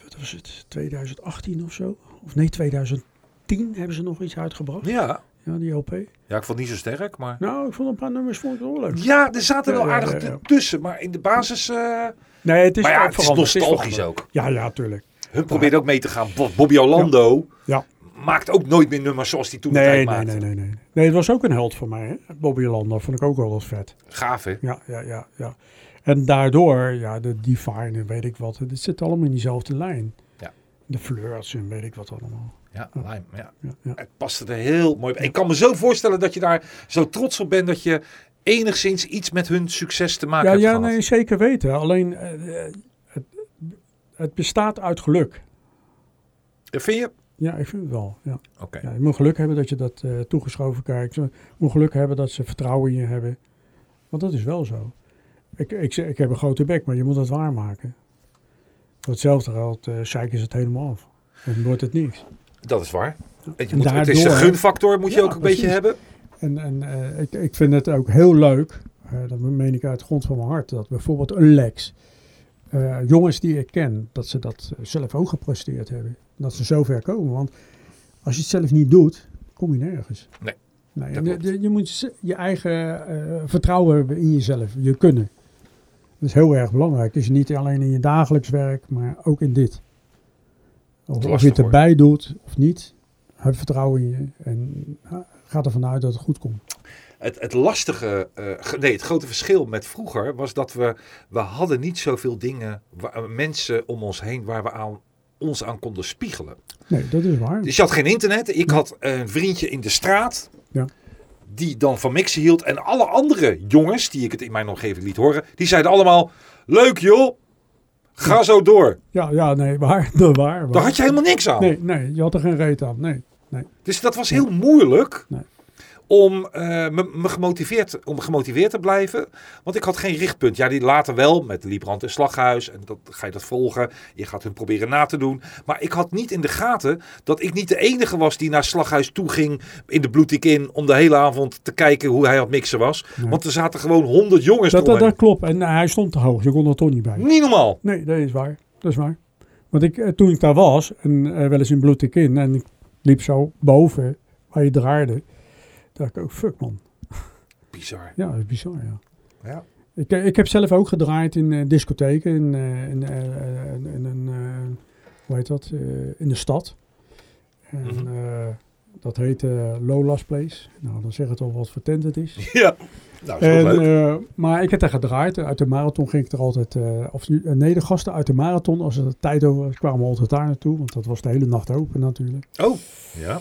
Speaker 3: wat was het, 2018 of zo? Of nee, 2010 hebben ze nog iets uitgebracht.
Speaker 2: ja.
Speaker 3: Ja, die LP.
Speaker 2: Ja, ik vond het niet zo sterk, maar...
Speaker 3: Nou, ik vond een paar nummers vond ik wel leuk.
Speaker 2: Ja, er zaten
Speaker 3: Ja,
Speaker 2: wel
Speaker 3: ja,
Speaker 2: aardig
Speaker 3: ja,
Speaker 2: t-
Speaker 3: ja.
Speaker 2: tussen, maar in de basis... eh,
Speaker 3: Nee, het is
Speaker 2: maar ja, het is
Speaker 3: veranderd, het is
Speaker 2: nostalgisch
Speaker 3: veranderd.
Speaker 2: ook.
Speaker 3: Ja, ja, tuurlijk.
Speaker 2: Hun probeerde ook mee te gaan. Bob- Bobby Orlando
Speaker 3: Ja.
Speaker 2: maakt ook nooit meer nummers zoals hij toen de
Speaker 3: Nee,
Speaker 2: tijd
Speaker 3: nee,
Speaker 2: maakte.
Speaker 3: nee, nee, nee. Nee, het was ook een held voor mij. Hè? Bobby Landa vond ik ook wel wat vet.
Speaker 2: Gaaf, hè?
Speaker 3: Ja, ja, ja, ja. En daardoor, ja, de Divine en weet ik wat. Het zit allemaal in diezelfde lijn.
Speaker 2: Ja.
Speaker 3: De Flirts en weet ik wat allemaal.
Speaker 2: Ja, Lime, ja.
Speaker 3: Ja, ja.
Speaker 2: Het paste er heel mooi bij. Ik kan me zo voorstellen dat je daar zo trots op bent dat je enigszins iets met hun succes te maken
Speaker 3: Ja,
Speaker 2: hebt
Speaker 3: ja,
Speaker 2: gehad.
Speaker 3: nee, zeker weten. Alleen, eh, eh, het, het bestaat uit geluk.
Speaker 2: Vind je?
Speaker 3: Ja, ik vind het wel. Ja.
Speaker 2: Oké.
Speaker 3: Ja, je moet geluk hebben dat je dat eh, toegeschoven krijgt. Je moet geluk hebben dat ze vertrouwen in je hebben. Want dat is wel zo. Ik, ik, zeg- ik heb een grote bek, maar je moet dat waarmaken. Voor hetzelfde geld eh zeiken ze het helemaal af. En dan wordt het niks.
Speaker 2: Dat is waar. Je
Speaker 3: En
Speaker 2: moet, het is de
Speaker 3: daardoor-
Speaker 2: gunfactor, moet je
Speaker 3: Ja,
Speaker 2: ook een
Speaker 3: precies.
Speaker 2: beetje hebben.
Speaker 3: En, en eh, ik, ik vind het ook heel leuk, eh, dat meen ik uit de grond van mijn hart, dat bijvoorbeeld een Lex, eh, jongens die ik ken, dat ze dat eh, zelf ook gepresteerd hebben. Dat ze zover komen. Want als je het zelf niet doet, kom je nergens.
Speaker 2: Nee,
Speaker 3: Nee,
Speaker 2: dat
Speaker 3: en je,
Speaker 2: klopt.
Speaker 3: je- je moet z- je eigen eh, vertrouwen hebben in jezelf, je kunnen. Dat is heel erg belangrijk. Dus niet alleen in je dagelijks werk, maar ook in dit. Of, of je
Speaker 2: lastig,
Speaker 3: het
Speaker 2: hoor.
Speaker 3: erbij doet of niet, heb vertrouwen in je en ja, ga ervan uit dat het goed komt.
Speaker 2: Het, het lastige, eh, ge- nee, het grote verschil met vroeger was dat we, we hadden niet zoveel dingen, wa- eh, mensen om ons heen waar we aan, ons aan konden spiegelen.
Speaker 3: Nee, dat is waar.
Speaker 2: Dus je had geen internet. Ik had een vriendje in de straat.
Speaker 3: Ja.
Speaker 2: Die dan van mixen hield. En alle andere jongens, die ik het in mijn omgeving liet horen, die zeiden allemaal, leuk joh, ga zo door.
Speaker 3: Ja, ja, nee, waar, de waar. waar.
Speaker 2: Daar had je helemaal niks aan.
Speaker 3: Nee, nee, je had er geen reet aan. Nee, nee.
Speaker 2: Dus dat was heel moeilijk
Speaker 3: Nee.
Speaker 2: om, eh, me, me gemotiveerd, om gemotiveerd te blijven. Want ik had geen richtpunt. Ja, die later wel met Liebrand en Slaghuis. En dat, ga je dat volgen. Je gaat hun proberen na te doen. Maar ik had niet in de gaten dat ik niet de enige was die naar Slaghuis toe ging. In de bloedik in. Om de hele avond te kijken hoe hij aan het mixen was. Want er zaten gewoon honderd jongens
Speaker 3: Dat,
Speaker 2: dat,
Speaker 3: dat, dat klopt. En eh, hij stond te hoog, je kon er toch niet bij.
Speaker 2: Niet normaal.
Speaker 3: Nee, dat is waar. Dat is waar. Want ik, eh, toen ik daar was, en eh, wel eens in bloed ik in, en ik liep zo boven waar je draaide. dacht ik ook, fuck man.
Speaker 2: Bizar.
Speaker 3: Ja, dat is bizar, ja.
Speaker 2: Ja.
Speaker 3: Ik, eh, ik heb zelf ook gedraaid in eh, discotheken, in, eh, in, eh, eh, in, in een, eh, hoe heet dat, eh, in de stad. En
Speaker 2: Mhm.
Speaker 3: eh, dat heet eh, Lola's Place. Nou, dan zeg het al wat voor tent het is.
Speaker 2: ja. Nou, is ook
Speaker 3: En,
Speaker 2: leuk.
Speaker 3: eh, maar ik heb daar gedraaid. Uit de marathon ging ik er altijd. eh, of nu- eh, nee, de gasten uit de marathon, als er de tijd over was, kwamen we altijd daar naartoe. Want dat was de hele nacht open natuurlijk.
Speaker 2: Oh, ja.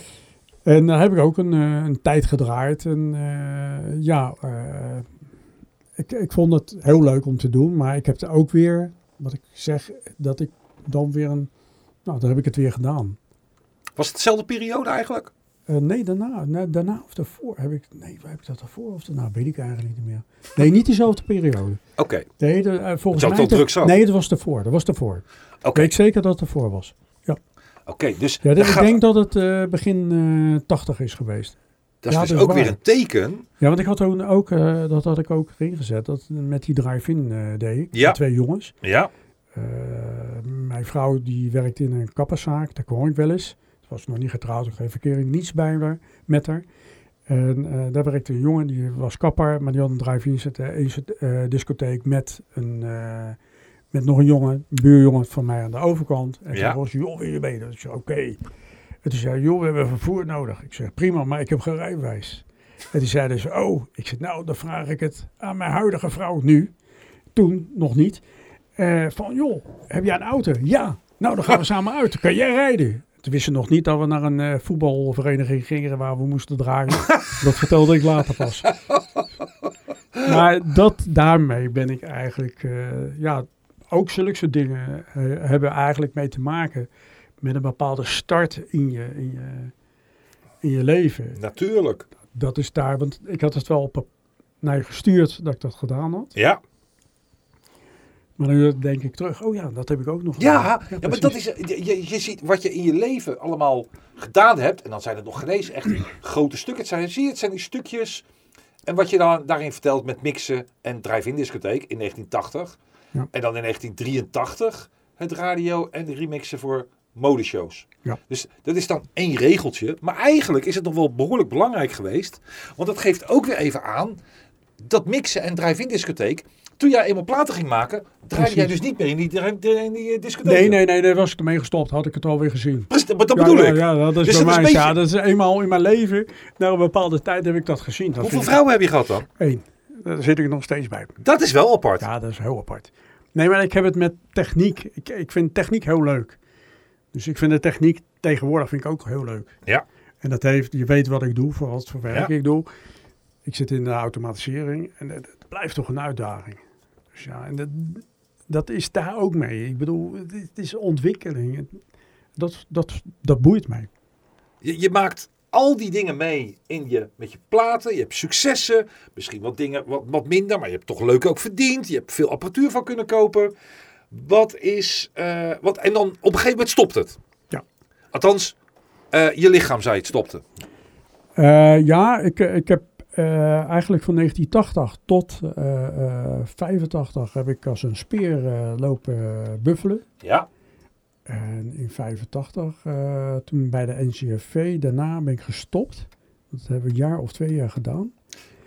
Speaker 3: En daar heb ik ook een, eh, een tijd gedraaid. En eh, ja, eh, ik, ik vond het heel leuk om te doen. Maar ik heb er ook weer, wat ik zeg, dat ik dan weer een. Nou, dan heb ik het weer gedaan.
Speaker 2: Was het dezelfde periode eigenlijk?
Speaker 3: Eh, nee, daarna, na- daarna of daarvoor heb ik. Nee, waar heb ik dat daarvoor of daarna? Weet ik eigenlijk niet meer. Nee, niet dezelfde periode.
Speaker 2: Oké.
Speaker 3: Nee, de, eh, volgens
Speaker 2: Het zou
Speaker 3: mij...
Speaker 2: toch
Speaker 3: de-
Speaker 2: druk zijn?
Speaker 3: Nee, het was ervoor. Dat was ervoor. Ik
Speaker 2: Oké.
Speaker 3: weet zeker dat het ervoor was.
Speaker 2: Oké, dus
Speaker 3: Ja,
Speaker 2: dat,
Speaker 3: dit- ik
Speaker 2: gaat-
Speaker 3: denk dat het eh, begin eh 80 is geweest.
Speaker 2: dat is
Speaker 3: ja,
Speaker 2: dus
Speaker 3: dat is
Speaker 2: ook
Speaker 3: waar.
Speaker 2: weer een teken.
Speaker 3: Ja, want ik had toen ook, eh, dat had ik ook erin gezet, dat met die drive-in eh, deed ik.
Speaker 2: Ja.
Speaker 3: met Twee jongens.
Speaker 2: Ja.
Speaker 3: Eh, mijn vrouw die werkte in een kapperszaak, daar kwam ik wel eens. Ze was nog niet getrouwd, ik geen verkering, niets bij haar, met haar. En eh, daar werkte een jongen, die was kapper, maar die had een drive-in set- eh, een set- eh, discotheek met, een, eh, met nog een jongen, een buurjongen van mij aan de overkant. En
Speaker 2: Ja.
Speaker 3: toen was joh, wil je mee? Dat is oké. En toen zei hij, joh, we hebben vervoer nodig. Ik zeg, prima, maar ik heb geen rijbewijs. En die zei dus, oh, ik zeg, nou, dan vraag ik het aan mijn huidige vrouw nu. Toen nog niet. Eh, van, joh, heb jij een auto? Ja. Nou, dan gaan we samen uit. Dan kan jij rijden. Toen wisten ze nog niet dat we naar een eh, voetbalvereniging gingen waar we moesten dragen. dat vertelde ik later pas. maar dat, daarmee ben ik eigenlijk, eh, ja, ook zulke soort dingen eh, hebben eigenlijk mee te maken met een bepaalde start in je, in je, in je leven.
Speaker 2: Natuurlijk.
Speaker 3: Dat is daar, want ik had het wel op, naar je gestuurd dat ik dat gedaan had.
Speaker 2: Ja.
Speaker 3: Maar nu denk ik terug, oh ja, dat heb ik ook nog
Speaker 2: Ja,
Speaker 3: gedaan.
Speaker 2: ja, maar
Speaker 3: precies.
Speaker 2: dat is, je, je- je ziet wat je in je leven allemaal gedaan hebt. En dan zijn het nog geen eens echt grote stukken. Het zijn, zie je, het zijn die stukjes. En wat je dan daarin vertelt met mixen en drive-in discotheek in 1980.
Speaker 3: Ja.
Speaker 2: En dan in 1983 het radio en de remixen voor modeshows.
Speaker 3: Ja.
Speaker 2: Dus dat is dan één regeltje. Maar eigenlijk is het nog wel behoorlijk belangrijk geweest. Want dat geeft ook weer even aan dat mixen en drive-in discotheek. Toen jij eenmaal platen ging maken, draaide jij dus
Speaker 3: Precies.
Speaker 2: niet meer in die, dri- dri- in die eh, discotheek.
Speaker 3: Nee, nee, nee, daar was ik ermee gestopt. Had ik het alweer gezien.
Speaker 2: Precies, maar dat
Speaker 3: Ja,
Speaker 2: bedoel
Speaker 3: ja,
Speaker 2: ik.
Speaker 3: Ja, dat
Speaker 2: Dus
Speaker 3: is bij
Speaker 2: dat is
Speaker 3: mij.
Speaker 2: een beetje-
Speaker 3: Ja, dat is eenmaal in mijn leven. Na een bepaalde tijd heb ik dat gezien. Dat
Speaker 2: Hoeveel
Speaker 3: vind ik-
Speaker 2: vrouwen heb je gehad dan?
Speaker 3: Eén. Daar zit ik nog steeds bij.
Speaker 2: Dat is wel apart.
Speaker 3: Ja, dat is heel apart. Nee, maar ik heb het met techniek. Ik, ik vind techniek heel leuk. Dus ik vind de techniek tegenwoordig vind ik ook heel leuk.
Speaker 2: Ja.
Speaker 3: En dat heeft, je weet wat ik doe, voor wat voor werk
Speaker 2: Ja.
Speaker 3: ik doe. Ik zit in de automatisering en het, het blijft toch een uitdaging. Dus ja, en dat, dat is daar ook mee. Ik bedoel, het, is- het is ontwikkeling. Het- Dat, dat, dat boeit mij.
Speaker 2: Je, je maakt al die dingen mee in je, met je platen. Je hebt successen. Misschien wat dingen wat, wat minder. Maar je hebt toch leuk ook verdiend. Je hebt veel apparatuur van kunnen kopen. Wat is... eh, wat, en dan op een gegeven moment stopt het.
Speaker 3: Ja.
Speaker 2: Althans, eh, je lichaam zei het stopte.
Speaker 3: Eh, ja, ik, ik heb eh, eigenlijk van 1980 tot eh, eh, 85 heb ik als een speer eh, lopen eh, buffelen.
Speaker 2: Ja.
Speaker 3: En in 85, eh, toen bij de NCFV, daarna ben ik gestopt. Dat hebben we een jaar of twee jaar gedaan.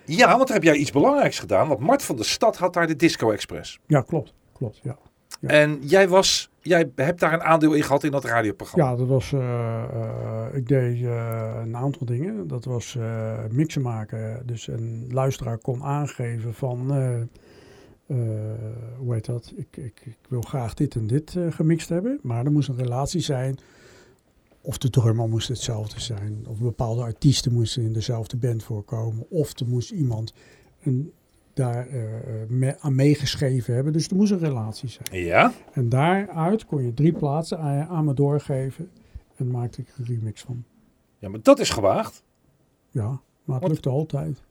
Speaker 2: Ja, want daar heb jij iets belangrijks gedaan. Want Mart van der Stad had daar de Disco Express.
Speaker 3: Ja, klopt. Klopt, ja. Ja.
Speaker 2: En jij, was, jij hebt daar een aandeel in gehad in dat radioprogramma.
Speaker 3: Ja, dat was, eh, eh, ik deed eh, een aantal dingen. Dat was eh, mixen maken. Dus een luisteraar kon aangeven van, eh, eh, hoe heet dat? Ik, ik, ik wil graag dit en dit eh, gemixt hebben. Maar er moest een relatie zijn. Of de drummer moest hetzelfde zijn. Of bepaalde artiesten moesten in dezelfde band voorkomen. Of er moest iemand een, daar eh, me- aan meegeschreven hebben. Dus er moest een relatie zijn.
Speaker 2: ja?
Speaker 3: En daaruit kon je drie plaatsen aan, aan me doorgeven. En maakte ik een remix van.
Speaker 2: Ja, maar dat is gewaagd.
Speaker 3: Ja, maar het
Speaker 2: Wat-
Speaker 3: lukte altijd.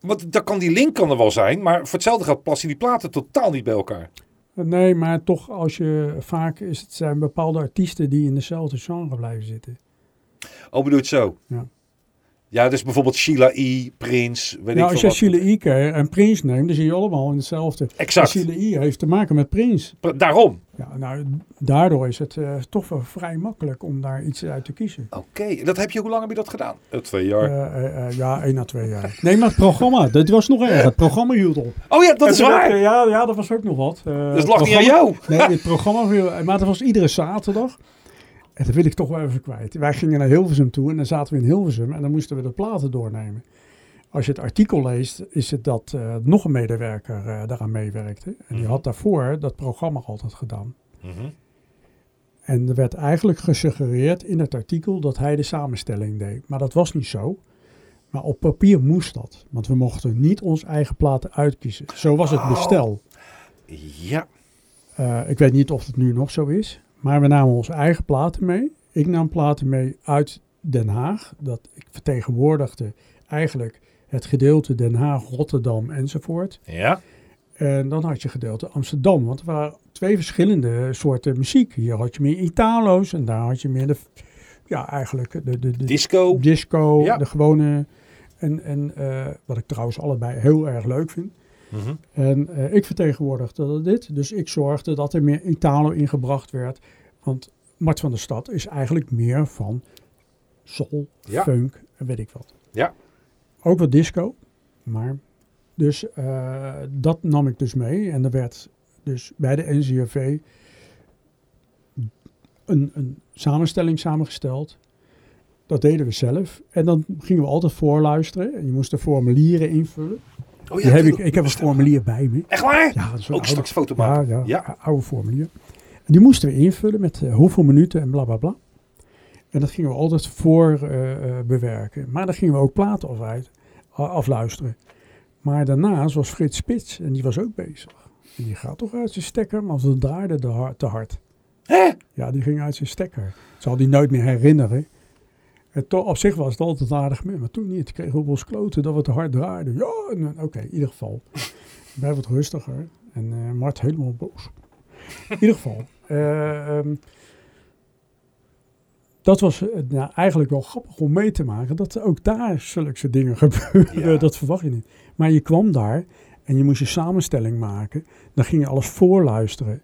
Speaker 2: Want dan kan die link kan er wel zijn, maar voor hetzelfde geld passen die platen totaal niet bij elkaar.
Speaker 3: Nee, maar toch als je vaak is het zijn bepaalde artiesten die in dezelfde genre blijven zitten.
Speaker 2: Oh, bedoel je het zo?
Speaker 3: Ja.
Speaker 2: Ja, dus bijvoorbeeld Sheila E., Prins, weet
Speaker 3: Nou,
Speaker 2: ik
Speaker 3: als
Speaker 2: veel
Speaker 3: je
Speaker 2: wat.
Speaker 3: Sheila E. keer en Prins neemt, dan zie je allemaal in hetzelfde.
Speaker 2: Exact.
Speaker 3: En Sheila E. heeft te maken met Prins.
Speaker 2: Pre- Daarom.
Speaker 3: Ja, nou, daardoor is het eh, toch wel vrij makkelijk om daar iets uit te kiezen.
Speaker 2: Oké, dat heb je, hoe lang heb je dat gedaan? Eh, twee jaar.
Speaker 3: Eh, eh, eh, ja, één à twee jaar. Nee, maar het programma, dat was nog erg. Het programma hield op.
Speaker 2: oh ja, dat is waar.
Speaker 3: Eh, Ja, ja, dat was ook nog wat. Eh,
Speaker 2: dat
Speaker 3: het
Speaker 2: lag niet aan
Speaker 3: programma-
Speaker 2: jou.
Speaker 3: Nee, het programma viel, maar dat was iedere zaterdag. En dat wil ik toch wel even kwijt. Wij gingen naar Hilversum toe en dan zaten we in Hilversum en dan moesten we de platen doornemen. Als je het artikel leest, is het dat eh, nog een medewerker eh, daaraan meewerkte. En die had daarvoor dat programma altijd gedaan.
Speaker 2: Mhm.
Speaker 3: En er werd eigenlijk gesuggereerd in het artikel dat hij de samenstelling deed. Maar dat was niet zo. Maar op papier moest dat. Want we mochten niet ons eigen platen uitkiezen. Zo was het bestel.
Speaker 2: Ja.
Speaker 3: Eh, ik weet niet of het nu nog zo is. Maar we namen onze eigen platen mee. Ik nam platen mee uit Den Haag. Dat ik vertegenwoordigde eigenlijk het gedeelte Den Haag, Rotterdam enzovoort.
Speaker 2: Ja.
Speaker 3: En dan had je gedeelte Amsterdam. Want er waren twee verschillende soorten muziek. Hier had je meer Italo's en daar had je meer de... Ja, eigenlijk de, de, de,
Speaker 2: Disco.
Speaker 3: disco,
Speaker 2: Ja.
Speaker 3: de gewone. En, en eh, wat ik trouwens allebei heel erg leuk vind.
Speaker 2: Mhm.
Speaker 3: En eh, ik vertegenwoordigde dit. Dus ik zorgde dat er meer Italo ingebracht werd. Want Mart van der Stad is eigenlijk meer van soul,
Speaker 2: Ja.
Speaker 3: funk en weet ik wat.
Speaker 2: Ja.
Speaker 3: Ook wat disco. Maar dus eh, dat nam ik dus mee. En er werd dus bij de NCRV een, een samenstelling samengesteld. Dat deden we zelf. En dan gingen we altijd voorluisteren. En je moest de formulieren invullen.
Speaker 2: Oh,
Speaker 3: Die heb ik,
Speaker 2: tuurlijk.
Speaker 3: ik heb een formulier bij me.
Speaker 2: Echt waar?
Speaker 3: Ja, dat is een
Speaker 2: Ook
Speaker 3: oude-
Speaker 2: straks foto
Speaker 3: ja,
Speaker 2: maken.
Speaker 3: ja,
Speaker 2: Ja.
Speaker 3: een oude formulier. En die moesten we invullen met eh, hoeveel minuten en bla bla bla. En dat gingen we altijd voor eh, eh, bewerken. Maar dan gingen we ook platen af, uit- a- afluisteren. Maar daarnaast was Frits Spits en die was ook bezig. En die gaat toch uit zijn stekker, maar dat draaide de har- te hard.
Speaker 2: Hè?
Speaker 3: Ja, die ging uit zijn stekker. Dat zal die nooit meer herinneren. En to- op zich was het altijd een aardig meer, maar toen niet. Kregen we op ons kloten dat we te hard draaiden. Ja, en- en- oké, in ieder geval. Wij wat rustiger. En eh, Mart helemaal boos. In ieder geval. eh, ehm, dat was eh, nou, eigenlijk wel grappig om mee te maken. Dat er ook daar zulke soort dingen gebeuren.
Speaker 2: Ja.
Speaker 3: Dat verwacht je niet. Maar je kwam daar en je moest je samenstelling maken. Dan ging je alles voorluisteren.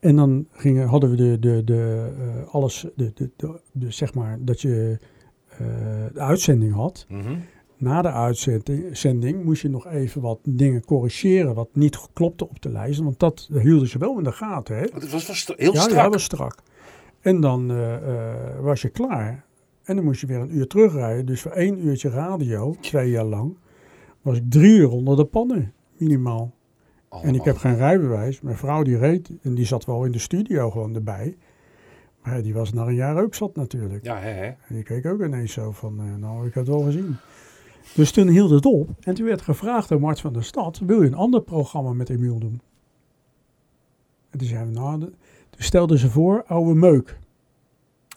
Speaker 3: En dan gingen, hadden we de, de, de, eh, alles, de, de, de, de- zeg maar, dat je eh, de uitzending had.
Speaker 2: Mhm.
Speaker 3: Na de uitzending zending moest je nog even wat dingen corrigeren wat niet klopte op de lijst. Want dat hielden ze wel in de gaten, hè?
Speaker 2: Het was, was heel
Speaker 3: ja,
Speaker 2: strak.
Speaker 3: Ja, was strak. En dan eh, eh, was je klaar. En dan moest je weer een uur terugrijden. Dus voor één uurtje radio, twee jaar lang, was ik drie uur onder de pannen, minimaal.
Speaker 2: Allemaal.
Speaker 3: En ik heb geen rijbewijs. Mijn vrouw die reed en die zat wel in de studio gewoon erbij. Maar ja, die was na een jaar ook zat natuurlijk.
Speaker 2: Ja, hè, hè.
Speaker 3: En die keek ook ineens zo van, eh, nou ik had het wel gezien. Dus toen hield het op en toen werd gevraagd door Mart van der Stad, wil je een ander programma met Emiel doen? En toen zei we, nou, de- toen stelden ze voor oude meuk.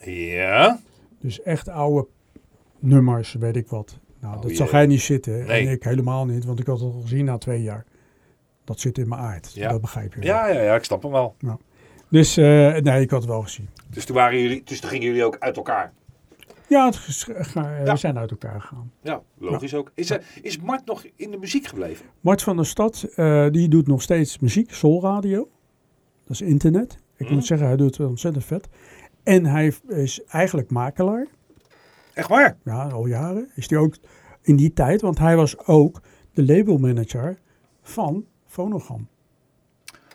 Speaker 2: Ja.
Speaker 3: Dus echt oude nummers, weet ik wat. Nou,
Speaker 2: Oh
Speaker 3: dat
Speaker 2: jee.
Speaker 3: zag hij niet zitten
Speaker 2: Nee.
Speaker 3: en ik helemaal niet, want ik had het al gezien na twee jaar. Dat zit in mijn aard,
Speaker 2: Ja.
Speaker 3: dat begrijp je wel.
Speaker 2: Ja, ja, ja, ik snap hem wel.
Speaker 3: Dus eh, nee, ik had het wel gezien.
Speaker 2: Dus toen, waren jullie, dus toen gingen jullie ook uit elkaar.
Speaker 3: Ja, het ges- ga- eh,
Speaker 2: Ja.
Speaker 3: we zijn uit elkaar gegaan.
Speaker 2: Ja, logisch ook. Is, eh, is Mart nog in de muziek gebleven?
Speaker 3: Mart van der Stad, eh, die doet nog steeds muziek, soulradio. Dat is internet. Ik
Speaker 2: Mhm.
Speaker 3: moet zeggen, hij doet het ontzettend vet. En hij is eigenlijk makelaar.
Speaker 2: Echt waar?
Speaker 3: Ja, al jaren. Is hij ook in die tijd, want hij was ook de labelmanager van Phonogram.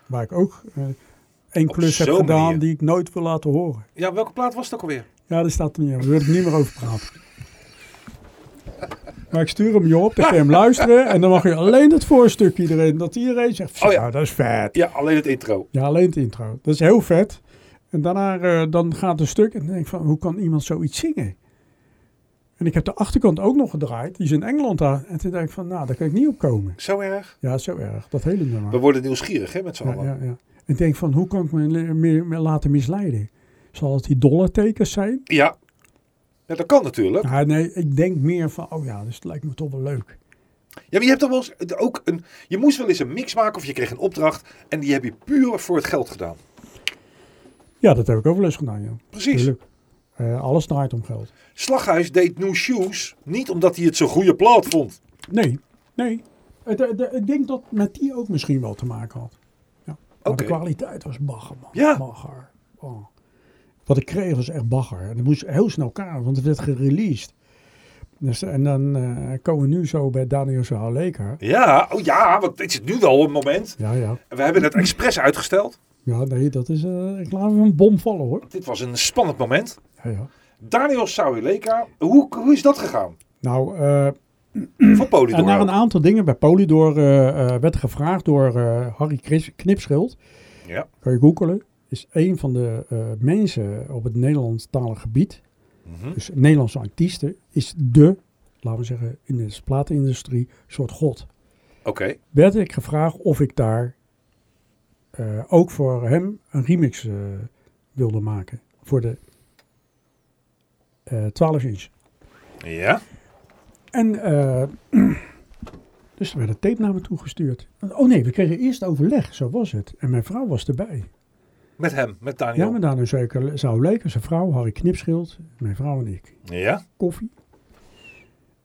Speaker 3: Waar ik ook eh één
Speaker 2: Op
Speaker 3: klus heb
Speaker 2: zo'n
Speaker 3: gedaan
Speaker 2: manier.
Speaker 3: die ik nooit wil laten horen.
Speaker 2: Ja, welke plaat was het ook alweer?
Speaker 3: Ja, daar staat er niet aan. Daar wil ik niet meer over praten. Maar ik stuur hem je op, dan kun je hem luisteren. En dan mag je alleen het voorstukje iedereen. Dat iedereen zegt,
Speaker 2: Oh
Speaker 3: oh
Speaker 2: ja.
Speaker 3: ja. dat is vet.
Speaker 2: Ja, alleen het intro.
Speaker 3: Ja, alleen het intro. Dat is heel vet. En daarna eh, dan gaat een stuk en dan denk ik van, hoe kan iemand zoiets zingen? En ik heb de achterkant ook nog gedraaid. Die is in Engeland daar. En toen denk ik van, nou, daar kan ik niet op komen.
Speaker 2: Zo erg.
Speaker 3: Ja, zo erg. Dat hele nummer.
Speaker 2: We worden nieuwsgierig, hè, met z'n
Speaker 3: Ja,
Speaker 2: allen.
Speaker 3: ja, ja. En ik denk van, hoe kan ik me le- meer, meer laten misleiden? Zal het die dollartekens zijn?
Speaker 2: Ja. Ja, dat kan natuurlijk.
Speaker 3: Ja, nee, ik denk meer van, oh ja, dus het lijkt me toch wel leuk.
Speaker 2: Ja, maar je hebt toch wel eens eh, ook een... Je moest wel eens een mix maken of je kreeg een opdracht. En die heb je puur voor het geld gedaan.
Speaker 3: Ja, dat heb ik ook wel eens gedaan, ja.
Speaker 2: Precies.
Speaker 3: Tuurlijk. Eh, alles draait om geld.
Speaker 2: Slaghuis deed New Shoes niet omdat hij het zo'n goede plaat vond.
Speaker 6: Nee, nee. Het, het- het- ik denk dat met die ook misschien wel te maken had. Ja. Maar
Speaker 2: Oké.
Speaker 6: de kwaliteit was bagger, man.
Speaker 2: Ja.
Speaker 6: Bagger. Oh. Wat ik kreeg was echt bagger. En dat moest heel snel kader, want het werd gereleased. Dus, en dan eh, komen we nu zo bij Daniel Zahaleka.
Speaker 2: Ja, oh ja, want dit is nu wel een moment.
Speaker 6: Ja, ja.
Speaker 2: We hebben het expres uitgesteld.
Speaker 6: Ja, nee, dat is... eh, ik laat hem een bom vallen, hoor.
Speaker 2: Dit was een spannend moment.
Speaker 6: Ja, ja.
Speaker 2: Daniel Sauerleka, hoe, hoe is dat gegaan?
Speaker 3: Nou, eh,
Speaker 2: Van Polydor.
Speaker 3: en naar een
Speaker 2: ook.
Speaker 3: aantal dingen bij Polydor eh, eh, werd gevraagd door eh, Harry Kris- Knipschild.
Speaker 2: Ja.
Speaker 3: Kan je googelen. Is een van de eh, mensen op het Nederlandstalig gebied.
Speaker 2: Mhm.
Speaker 3: Dus Nederlandse artiesten. Is de, laten we zeggen, in de platenindustrie soort god.
Speaker 2: Oké,
Speaker 3: werd ik gevraagd of ik daar eh, ook voor hem een remix eh, wilde maken. Voor de eh 12 inch.
Speaker 2: ja.
Speaker 3: En eh, dus er werd een tape naar me toegestuurd. Oh nee, we kregen eerst overleg, zo was het. En mijn vrouw was erbij.
Speaker 2: Met hem, met
Speaker 3: Ja,
Speaker 2: Daniel.
Speaker 3: maar daar zeker zou leken. Zijn vrouw, Harry Knipschild, mijn vrouw en ik.
Speaker 2: Ja,
Speaker 3: Koffie.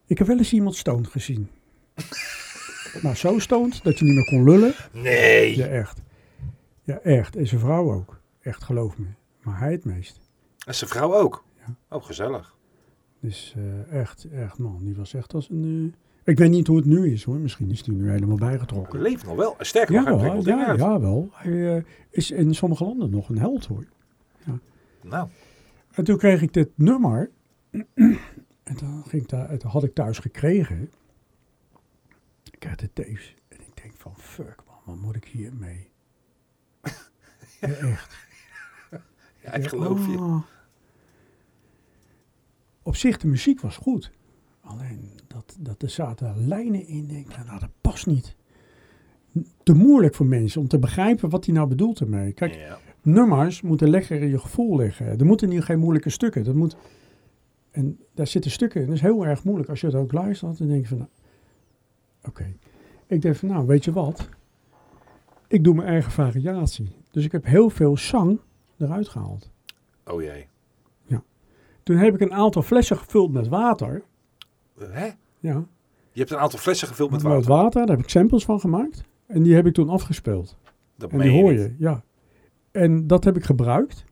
Speaker 3: Ik heb wel eens iemand stoned gezien. nou, zo stoned dat je niet meer kon lullen.
Speaker 2: nee.
Speaker 3: Ja, echt. Ja, echt. En zijn vrouw ook. Echt, geloof me. Maar hij het meest.
Speaker 2: En zijn vrouw ook. Oh, gezellig.
Speaker 3: Dus eh, echt, echt, man. Die was echt als een... eh, Ik weet niet hoe het nu is, hoor. Misschien is die nu helemaal bijgetrokken.
Speaker 2: Hij leeft nog wel. Sterker nog,
Speaker 3: Ja,
Speaker 2: hij
Speaker 3: wel,
Speaker 2: prikkelt
Speaker 3: ja,
Speaker 2: eruit.
Speaker 3: ja, wel. Hij eh, is in sommige landen nog een held, hoor.
Speaker 2: Nou,
Speaker 3: En toen kreeg ik dit nummer. en dan ging ik daar, het had ik thuis gekregen. Ik krijg de tapes. En ik denk van, fuck man, wat moet ik hier mee? Ja, echt.
Speaker 2: ja, ik geloof je.
Speaker 3: Ah. Op zich, de muziek was goed. Alleen, dat, dat er zaten lijnen in. Ik Denk, nou, nou, dat past niet. Te moeilijk voor mensen om te begrijpen wat hij nou bedoelt ermee. Kijk,
Speaker 2: Ja.
Speaker 3: nummers moeten lekker in je gevoel liggen. Er moeten hier geen moeilijke stukken. Dat moet, en daar zitten stukken in. Dat is heel erg moeilijk. Als je het ook luistert, dan denk je van... nou, Oké. Ik denk van, nou, weet je wat? Ik doe mijn eigen variatie. Dus ik heb heel veel zang eruit gehaald.
Speaker 2: Oh jee.
Speaker 3: Toen heb ik een aantal flessen gevuld met water.
Speaker 2: Hè?
Speaker 3: Ja,
Speaker 2: Je hebt een aantal flessen gevuld met
Speaker 3: met
Speaker 2: water.
Speaker 3: water. Daar heb ik samples van gemaakt. En die heb ik toen afgespeeld.
Speaker 2: Dat
Speaker 3: En
Speaker 2: meen
Speaker 3: die hoor
Speaker 2: niet.
Speaker 3: je, ja. En dat heb ik gebruikt.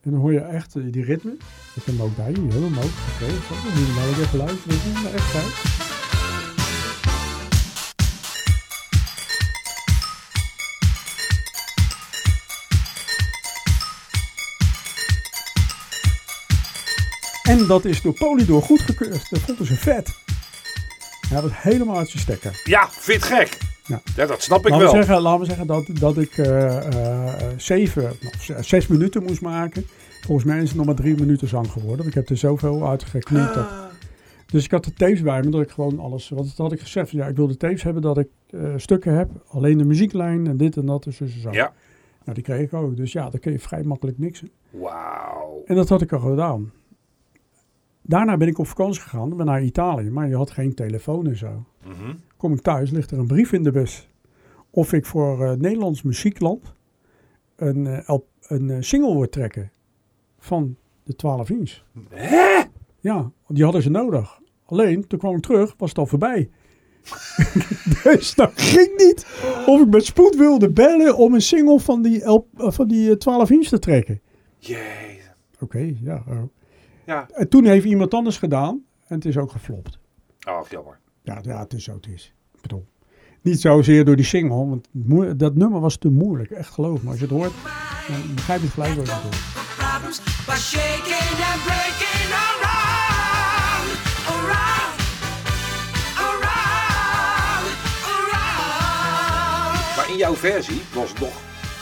Speaker 3: En dan hoor je echt eh, die ritme. Ik heb hem ook bij, die helemaal ook gekregen. Dan moet je nou weer even luisteren. Dat is nou echt fijn. En dat is door Polydor goedgekeurd. Dat vonden ze vet. Hij was helemaal uit zijn stekker.
Speaker 2: Ja, vind het gek. Ja.
Speaker 3: Ja.
Speaker 2: dat snap ik
Speaker 3: Laten
Speaker 2: wel.
Speaker 3: we zeggen, laten we zeggen dat, dat ik eh, eh, zeven, of z- zes minuten moest maken. Volgens mij is het nog maar drie minuten zang geworden. Want ik heb er zoveel uitgeknipt. dat-
Speaker 2: Ah.
Speaker 3: Dus ik had de tapes bij me, dat ik gewoon alles... Want dat had ik gezegd. Ja, ik wil de tapes hebben dat ik eh, stukken heb. Alleen de muzieklijn en dit en dat. Dus, dus en zo.
Speaker 2: Ja.
Speaker 3: Nou, die kreeg ik ook. Dus ja, daar kun je vrij makkelijk mixen.
Speaker 2: Wauw.
Speaker 3: En dat had ik al gedaan. Daarna ben ik op vakantie gegaan. ben naar Italië. Maar je had geen telefoon en zo
Speaker 2: Mhm.
Speaker 3: kom ik thuis, ligt er een brief in de bus. Of ik voor eh, Nederlands Muziekland een, eh, LP een eh, single wil trekken van de 12 inch. Hè? Ja, want die hadden ze nodig. Alleen, toen kwam ik terug, was het al voorbij. dus dat ging niet of ik met spoed wilde bellen om een single van die, LP, eh, van die eh, 12 inch te trekken.
Speaker 2: Jee.
Speaker 3: Oké, ja. eh.
Speaker 2: Ja.
Speaker 3: En toen heeft iemand anders gedaan en het is ook geflopt.
Speaker 2: Oh, jammer.
Speaker 3: Ja, ja, het is zo het is. Ik bedoel, niet zozeer door die single, want het moe- dat nummer was te moeilijk. Echt geloof me, als je het hoort, dan begrijp je het gelijk wat je bedoelt.
Speaker 7: problems by shaking and breaking around, around, around, around.
Speaker 2: Maar in jouw versie was het nog,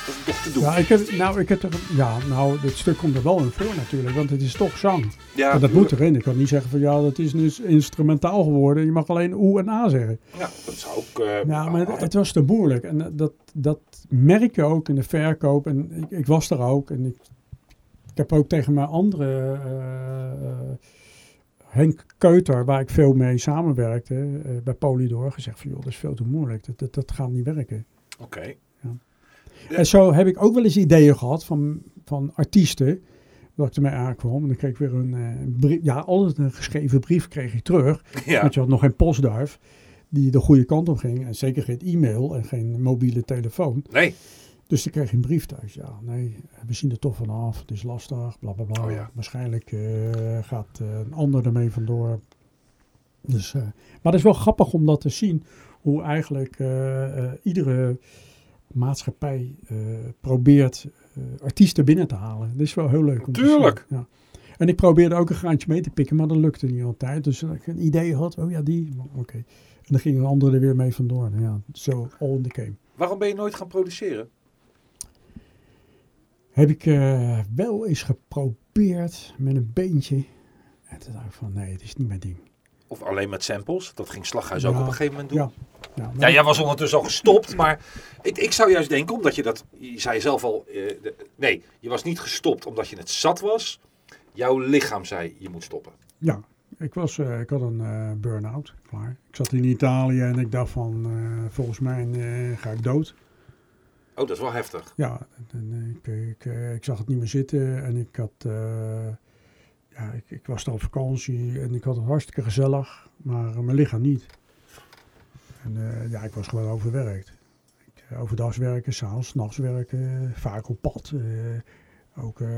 Speaker 2: was het nog te doen.
Speaker 3: Ja, ik heb, nou, ik heb er, ja, nou, dit stuk komt er wel in voor natuurlijk, want het is toch zang.
Speaker 2: Ja,
Speaker 3: Maar dat
Speaker 2: tuurlijk.
Speaker 3: moet erin. Ik kan niet zeggen van ja, dat is nu instrumentaal geworden. Je mag alleen oe en a zeggen.
Speaker 2: Ja, dat zou ook... eh,
Speaker 3: Ja, maar het,
Speaker 2: altijd-
Speaker 3: het was te moeilijk. En eh, dat, dat merk je ook in de verkoop. En ik, ik was er ook. En ik, ik heb ook tegen mijn andere... eh, eh, Henk Keuter, waar ik veel mee samenwerkte, eh, bij Polydor, gezegd van joh, dat is veel te moeilijk. Dat, dat, dat gaat niet werken.
Speaker 2: Oké.
Speaker 3: En zo heb ik ook wel eens ideeën gehad van, van artiesten. Dat ik ermee aankwam. En dan kreeg ik weer een eh, brief. Ja, altijd een geschreven brief kreeg ik terug.
Speaker 2: Ja.
Speaker 3: Want je had nog geen postduif die de goede kant op ging. En zeker geen e-mail en geen mobiele telefoon.
Speaker 2: Nee.
Speaker 3: Dus dan kreeg je een brief thuis. Ja, nee, we zien er toch vanaf. Het is lastig, bla bla bla.
Speaker 2: Oh ja.
Speaker 3: Waarschijnlijk eh, gaat eh, een ander ermee vandoor. Dus, eh, maar het is wel grappig om dat te zien. Hoe eigenlijk eh, eh, iedere maatschappij eh, probeert eh, artiesten binnen te halen. Dat is wel heel leuk om
Speaker 2: Tuurlijk.
Speaker 3: te zien. Ja. En ik probeerde ook een graantje mee te pikken, maar dat lukte niet altijd. Dus dat ik een idee had, oh ja, die, oké. En dan ging een ander er weer mee vandoor. Nou Ja, zo all in the game.
Speaker 2: Waarom ben je nooit gaan produceren?
Speaker 3: Heb ik eh, wel eens geprobeerd met een beentje. En toen dacht ik van nee, het is niet mijn ding.
Speaker 2: Of alleen met samples? Dat ging Slaghuis ook
Speaker 3: Ja.
Speaker 2: op een gegeven moment doen.
Speaker 3: Ja. Ja,
Speaker 2: Ja, jij was ondertussen al gestopt, maar ik, ik zou juist denken, omdat je dat, je zei zelf al, eh, de- nee, je was niet gestopt omdat je het zat was. Jouw lichaam zei, je moet stoppen.
Speaker 3: ja. Ik, was, eh, ik had een eh, burn-out, klaar. Ik zat in Italië en ik dacht van eh, volgens mij eh, ga ik dood.
Speaker 2: Oh, dat is wel heftig.
Speaker 3: Ja, en, eh, ik, ik, eh, ik zag het niet meer zitten en ik had, eh, ja, ik, ik was dan op vakantie en ik had het hartstikke gezellig, maar eh, mijn lichaam niet. En eh, ja, ik was gewoon overwerkt. Ik, eh, overdag werken, s'avonds, 's nachts werken, vaak op pad. eh, ook eh,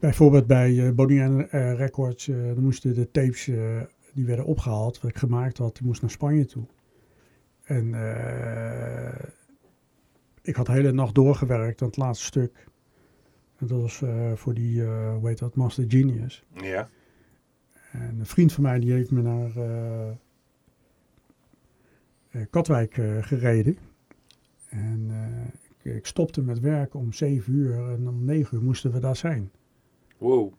Speaker 3: bijvoorbeeld bij eh Bonnie Records, eh, dan moesten de tapes, eh, die werden opgehaald, wat ik gemaakt had, die moest naar Spanje toe. En eh, ik had de hele nacht doorgewerkt aan het laatste stuk. En dat was eh, voor die, eh hoe heet dat, Master Genius.
Speaker 2: Ja.
Speaker 3: En een vriend van mij die heeft me naar eh, eh, Katwijk eh, gereden. En eh, ik, ik stopte met werk om 7 uur en om 9 uur moesten we daar zijn.
Speaker 2: Wow.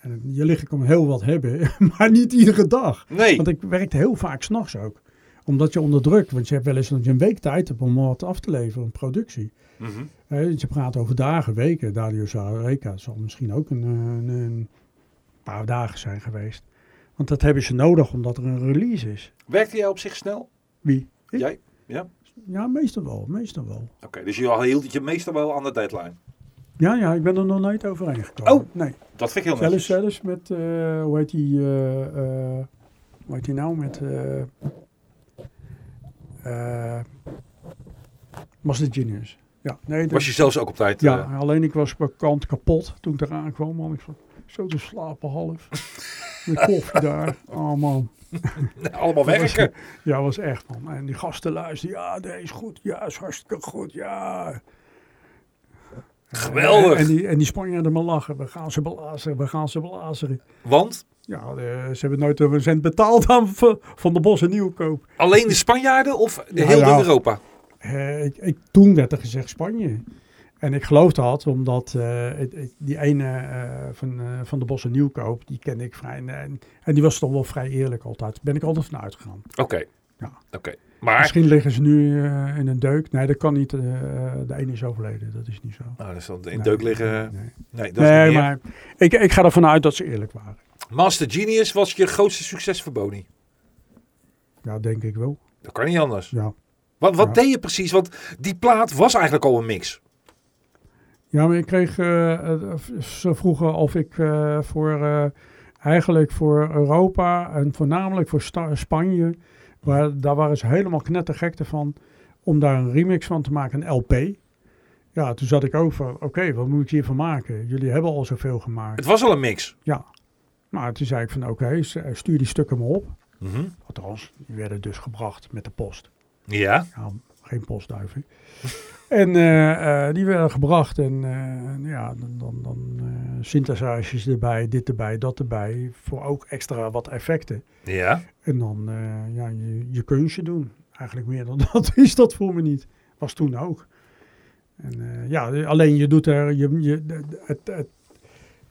Speaker 3: En je lichaam kan heel wat hebben, maar niet iedere dag.
Speaker 2: Nee.
Speaker 3: Want ik werkte heel vaak s'nachts ook. Omdat je onder druk, want je hebt wel eens dat je een week tijd hebt om wat af te leveren, een productie.
Speaker 2: Mhm.
Speaker 3: Hè, want je praat over dagen, weken. Dario Zareca zal misschien ook een, eh, een, een paar dagen zijn geweest. Want dat hebben ze nodig omdat er een release is.
Speaker 2: Werkte jij op zich snel?
Speaker 3: Wie? Ik?
Speaker 2: Jij? Ja. Oké,
Speaker 3: Ja, meestal wel, meestal wel.
Speaker 2: dus je hield je meestal wel aan de deadline.
Speaker 3: Ja, ja, ik ben er nog nooit overheen gekomen.
Speaker 2: Oh,
Speaker 3: nee.
Speaker 2: Dat vind ik heel
Speaker 3: Zelfs,
Speaker 2: netjes.
Speaker 3: zelfs met, eh, hoe heet die, eh, eh, hoe heet die nou, met eh eh Master Genius. Ja, nee, dat-
Speaker 2: Was je zelfs ook op tijd?
Speaker 3: Ja,
Speaker 2: eh,
Speaker 3: alleen ik was per kant kapot toen ik eraan kwam. Man, ik zat zo te slapen half. De koffie daar. Oh man.
Speaker 2: allemaal werken.
Speaker 3: Ja, was echt man. En die gasten luisterden. Ja, deze is goed. Ja, is hartstikke goed. Ja.
Speaker 2: Geweldig.
Speaker 3: En die, en die Spanjaarden maar lachen. We gaan ze belazeren. We gaan ze belazeren.
Speaker 2: Want
Speaker 3: Ja, eh, ze hebben nooit een cent betaald aan Van Van der Bos en Nieuwkoop.
Speaker 2: alleen de Spanjaarden of de
Speaker 3: Ja,
Speaker 2: heel
Speaker 3: ja.
Speaker 2: Europa?
Speaker 3: Eh, ik, ik, toen werd er gezegd Spanje. En ik geloof dat, omdat eh, het- het- die ene eh, van, eh, van de Bossen Nieuwkoop, die kende ik vrij. En, en- en die was toch wel vrij eerlijk altijd. Daar ben ik altijd van uitgegaan.
Speaker 2: Oké.
Speaker 3: Ja.
Speaker 2: Oké. Maar...
Speaker 3: Misschien liggen ze nu eh, in een deuk. Nee, dat kan niet. eh, de ene is overleden. Dat is niet zo.
Speaker 2: Nou, dat zal in
Speaker 3: Nee.
Speaker 2: deuk liggen.
Speaker 3: Nee,
Speaker 2: Nee, dat is
Speaker 3: nee
Speaker 2: niet meer.
Speaker 3: maar ik, ik ga ervan uit dat ze eerlijk waren.
Speaker 2: Master Genius was je grootste succes voor Boni.
Speaker 3: Ja, denk ik wel.
Speaker 2: Dat kan niet anders.
Speaker 3: Ja.
Speaker 2: Wat, wat
Speaker 3: Ja.
Speaker 2: deed je precies? Want die plaat was eigenlijk al een mix.
Speaker 3: Ja, maar ik kreeg, eh, eh, ze vroegen of ik eh, voor, eh, eigenlijk voor Europa en voornamelijk voor Sta- Spanje, waar, daar waren ze helemaal knettergekte van, om daar een remix van te maken, een LP. Ja, toen zat ik ook van, oké, wat moet ik hiervan maken? Jullie hebben al zoveel
Speaker 2: Het
Speaker 3: gemaakt.
Speaker 2: was al een mix.
Speaker 3: Ja. Maar toen zei ik van, oké, s- eh, stuur die stukken maar op.
Speaker 2: Mhm.
Speaker 3: Althans, die werden dus gebracht met de post.
Speaker 2: Ja.
Speaker 3: Ja, Nou, geen postduiven. en eh, eh, die werden gebracht en eh, ja, dan, dan, dan eh synthesizers erbij, dit erbij, dat erbij. Voor ook extra wat effecten.
Speaker 2: Ja.
Speaker 3: En dan eh, ja, je, je kunstje doen. Eigenlijk meer dan dat is dat voor me niet. Was toen ook. En, eh, ja, alleen je doet er... Je, je, het, het,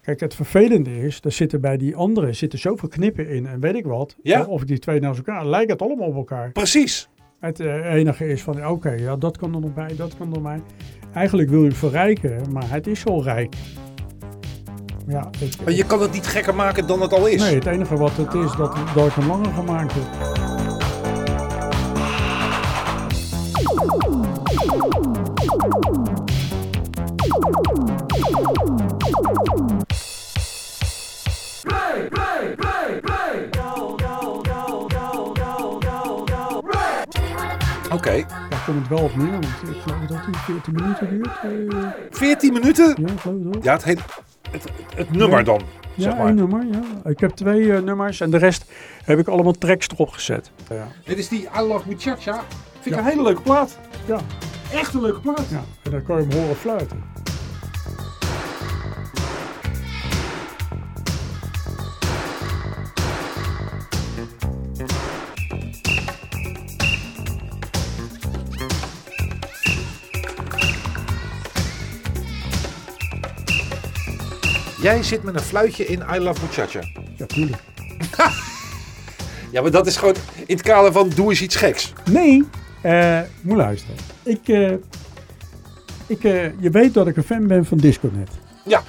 Speaker 3: kijk, het vervelende is, er zitten bij die anderen zitten zoveel knippen in en weet ik wat.
Speaker 2: Ja.
Speaker 3: Of ik die twee naast elkaar, lijkt het allemaal op elkaar.
Speaker 2: Precies.
Speaker 3: Het eh, enige is van, oké, ja, dat kan er nog bij, dat kan er nog bij. Eigenlijk wil je het verrijken, maar het is al rijk. Ja, ik-
Speaker 2: Maar je kan het niet gekker maken dan het al is.
Speaker 3: nee, het enige wat het is, dat, dat ik hem langer gemaakt heb. Daar komt het wel op neer, want ik geloof dat die 14 minuten duurt. eh,
Speaker 2: 14 minuten?
Speaker 3: ja, ik geloof het wel.
Speaker 2: Ja, het, hele- het, het, het nummer dan,
Speaker 3: Ja,
Speaker 2: zeg maar.
Speaker 3: één nummer, ja. Ik heb twee eh, nummers en de rest heb ik allemaal tracks erop gezet. Ja,
Speaker 2: Dit is die I Love Muchacha. Vind ik een hele leuke plaat.
Speaker 3: Ja.
Speaker 2: Echt een leuke plaat.
Speaker 3: ja. en dan kan je hem horen fluiten.
Speaker 2: Jij zit met een fluitje in I Love Muchacha.
Speaker 3: Ja, tuurlijk.
Speaker 2: Ja, maar dat is gewoon in het kader van doe eens iets geks.
Speaker 3: Nee, eh, moet luisteren. Ik, eh, ik, eh, je weet dat ik een fan ben van DiscoNet.
Speaker 2: Ja.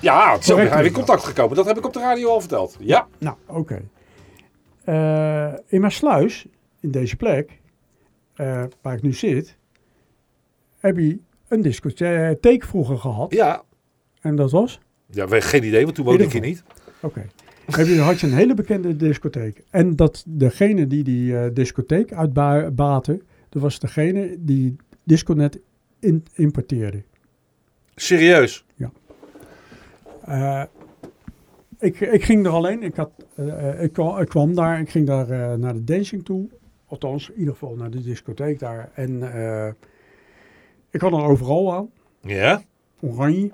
Speaker 2: Ja, zo
Speaker 3: Correct.
Speaker 2: zijn we in contact gekomen. Dat heb ik op de radio al verteld. Ja.
Speaker 3: Nou, oké. Eh, in mijn sluis, in deze plek, eh, waar ik nu zit, heb je een discotheek vroeger gehad.
Speaker 2: Ja.
Speaker 3: En dat was?
Speaker 2: Ja, we- geen idee, want toen woonde ik hier niet.
Speaker 3: Oké. Heb je, had je een hele bekende discotheek. En dat degene die die eh, discotheek uitbaten, dat was degene die Disconet in, importeerde.
Speaker 2: Serieus.
Speaker 3: Eh, ik, ik ging er alleen, ik, had, eh, eh, ik, kwam, ik kwam daar, ik ging daar eh, naar de dancing toe. Althans, in ieder geval naar de discotheek daar. En eh, ik had een overal aan,
Speaker 2: Ja.
Speaker 3: oranje.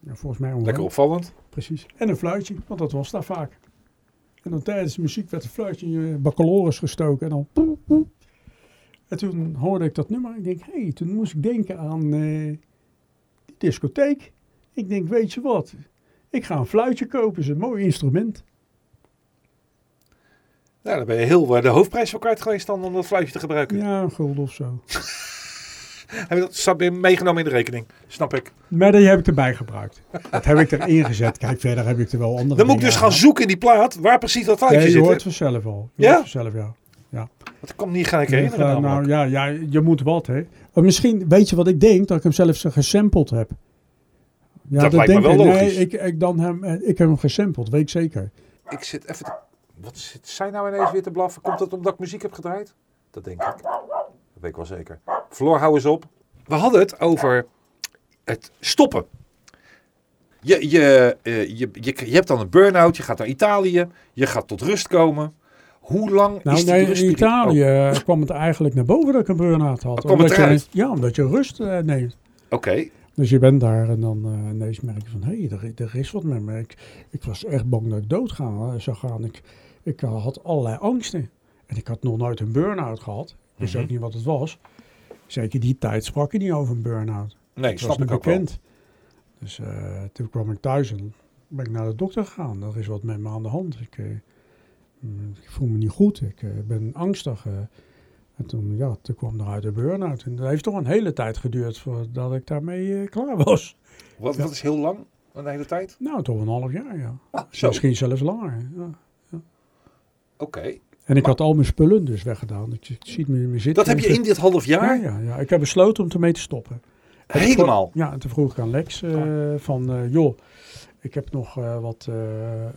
Speaker 3: Ja, volgens mij oranje.
Speaker 2: Lekker opvallend.
Speaker 3: Precies. En een fluitje, want dat was daar vaak. En dan tijdens de muziek werd een fluitje in je baccalorus gestoken. En dan poep, poep. En toen hoorde ik dat nummer. Ik denk, hé, hey, toen moest ik denken aan eh, die discotheek. Ik denk, weet je wat? Ik ga een fluitje kopen, is een mooi instrument.
Speaker 2: Nou, dan ben je heel eh, de hoofdprijs voor kwijt geweest dan om dat fluitje te gebruiken.
Speaker 3: Ja, een gulden of zo.
Speaker 2: Heb je dat snap je, meegenomen in de rekening? Snap ik.
Speaker 3: Maar die heb ik erbij gebruikt. Dat heb ik erin gezet. Kijk, verder heb ik er wel andere
Speaker 2: Dan moet ik
Speaker 3: dingen
Speaker 2: dus gaan
Speaker 3: aan.
Speaker 2: zoeken in die plaat waar precies dat fluitje
Speaker 3: Nee, je
Speaker 2: zit. hè?
Speaker 3: hoort vanzelf al. Je
Speaker 2: Ja?
Speaker 3: hoort vanzelf, ja.
Speaker 2: Dat komt niet gelijk
Speaker 3: Ja,
Speaker 2: herinneren.
Speaker 3: nou,
Speaker 2: namelijk.
Speaker 3: ja, ja, je moet wat, hè. Maar misschien, weet je wat ik denk? Dat ik hem zelf zo gesampled heb. Ja,
Speaker 2: Dat lijkt me
Speaker 3: denk
Speaker 2: wel
Speaker 3: ik.
Speaker 2: logisch.
Speaker 3: Nee, ik, ik, dan hem, eh, ik heb hem gesampled, weet ik zeker.
Speaker 2: Ik zit even. te- Wat zit zij nou ineens weer te blaffen? Komt dat omdat ik muziek heb gedraaid? Dat denk ik. Dat weet ik wel zeker. Floor, hou eens op. We hadden het over het stoppen. Je, je, eh, je, je, je hebt dan een burn-out, je gaat naar Italië, je gaat tot rust komen. Hoe lang
Speaker 3: Nou,
Speaker 2: is die
Speaker 3: nee,
Speaker 2: rust?
Speaker 3: in Italië eh, kwam het eigenlijk naar boven dat ik een burn-out had.
Speaker 2: kwam het eruit?
Speaker 3: je, ja, omdat je rust eh, neemt.
Speaker 2: Oh, Oké,
Speaker 3: Dus je bent daar en dan eh, ineens merk je van... Hé, hey, er, er is wat met me. Ik, ik was echt bang dat ik dood ga, eh, zou gaan. Ik, ik eh, had allerlei angsten. En ik had nog nooit een burn-out gehad. Ik wist
Speaker 2: Mhm.
Speaker 3: ook niet wat het was. Zeker die tijd sprak je niet over een burn-out.
Speaker 2: nee,
Speaker 3: Dat was
Speaker 2: snap
Speaker 3: niet
Speaker 2: ik ook wel.
Speaker 3: bekend. Dus eh, toen kwam ik thuis en ben ik naar de dokter gegaan. Er is wat met me aan de hand. Ik, eh, mm, ik voel me niet goed. Ik eh, ben angstig. eh. en toen, ja, toen kwam eruit de burn-out. En dat heeft toch een hele tijd geduurd voordat ik daarmee eh, klaar was.
Speaker 2: Wat, wat is heel lang, een hele tijd?
Speaker 3: Nou, toch een half jaar, ja.
Speaker 2: Zo, oké.
Speaker 3: Ah, Misschien zelfs langer. Ja. En ik had al mijn spullen dus weggedaan. Ik, ik zie het me niet meer zitten.
Speaker 2: Dat heb je in dit half
Speaker 3: Ja,
Speaker 2: jaar
Speaker 3: ja, ja. Ik heb besloten om ermee te stoppen. En toen
Speaker 2: helemaal. Oh.
Speaker 3: vroeg- Ja, en toen vroeg ik aan Lex eh, van, eh, joh, ik heb nog eh, wat eh, eh,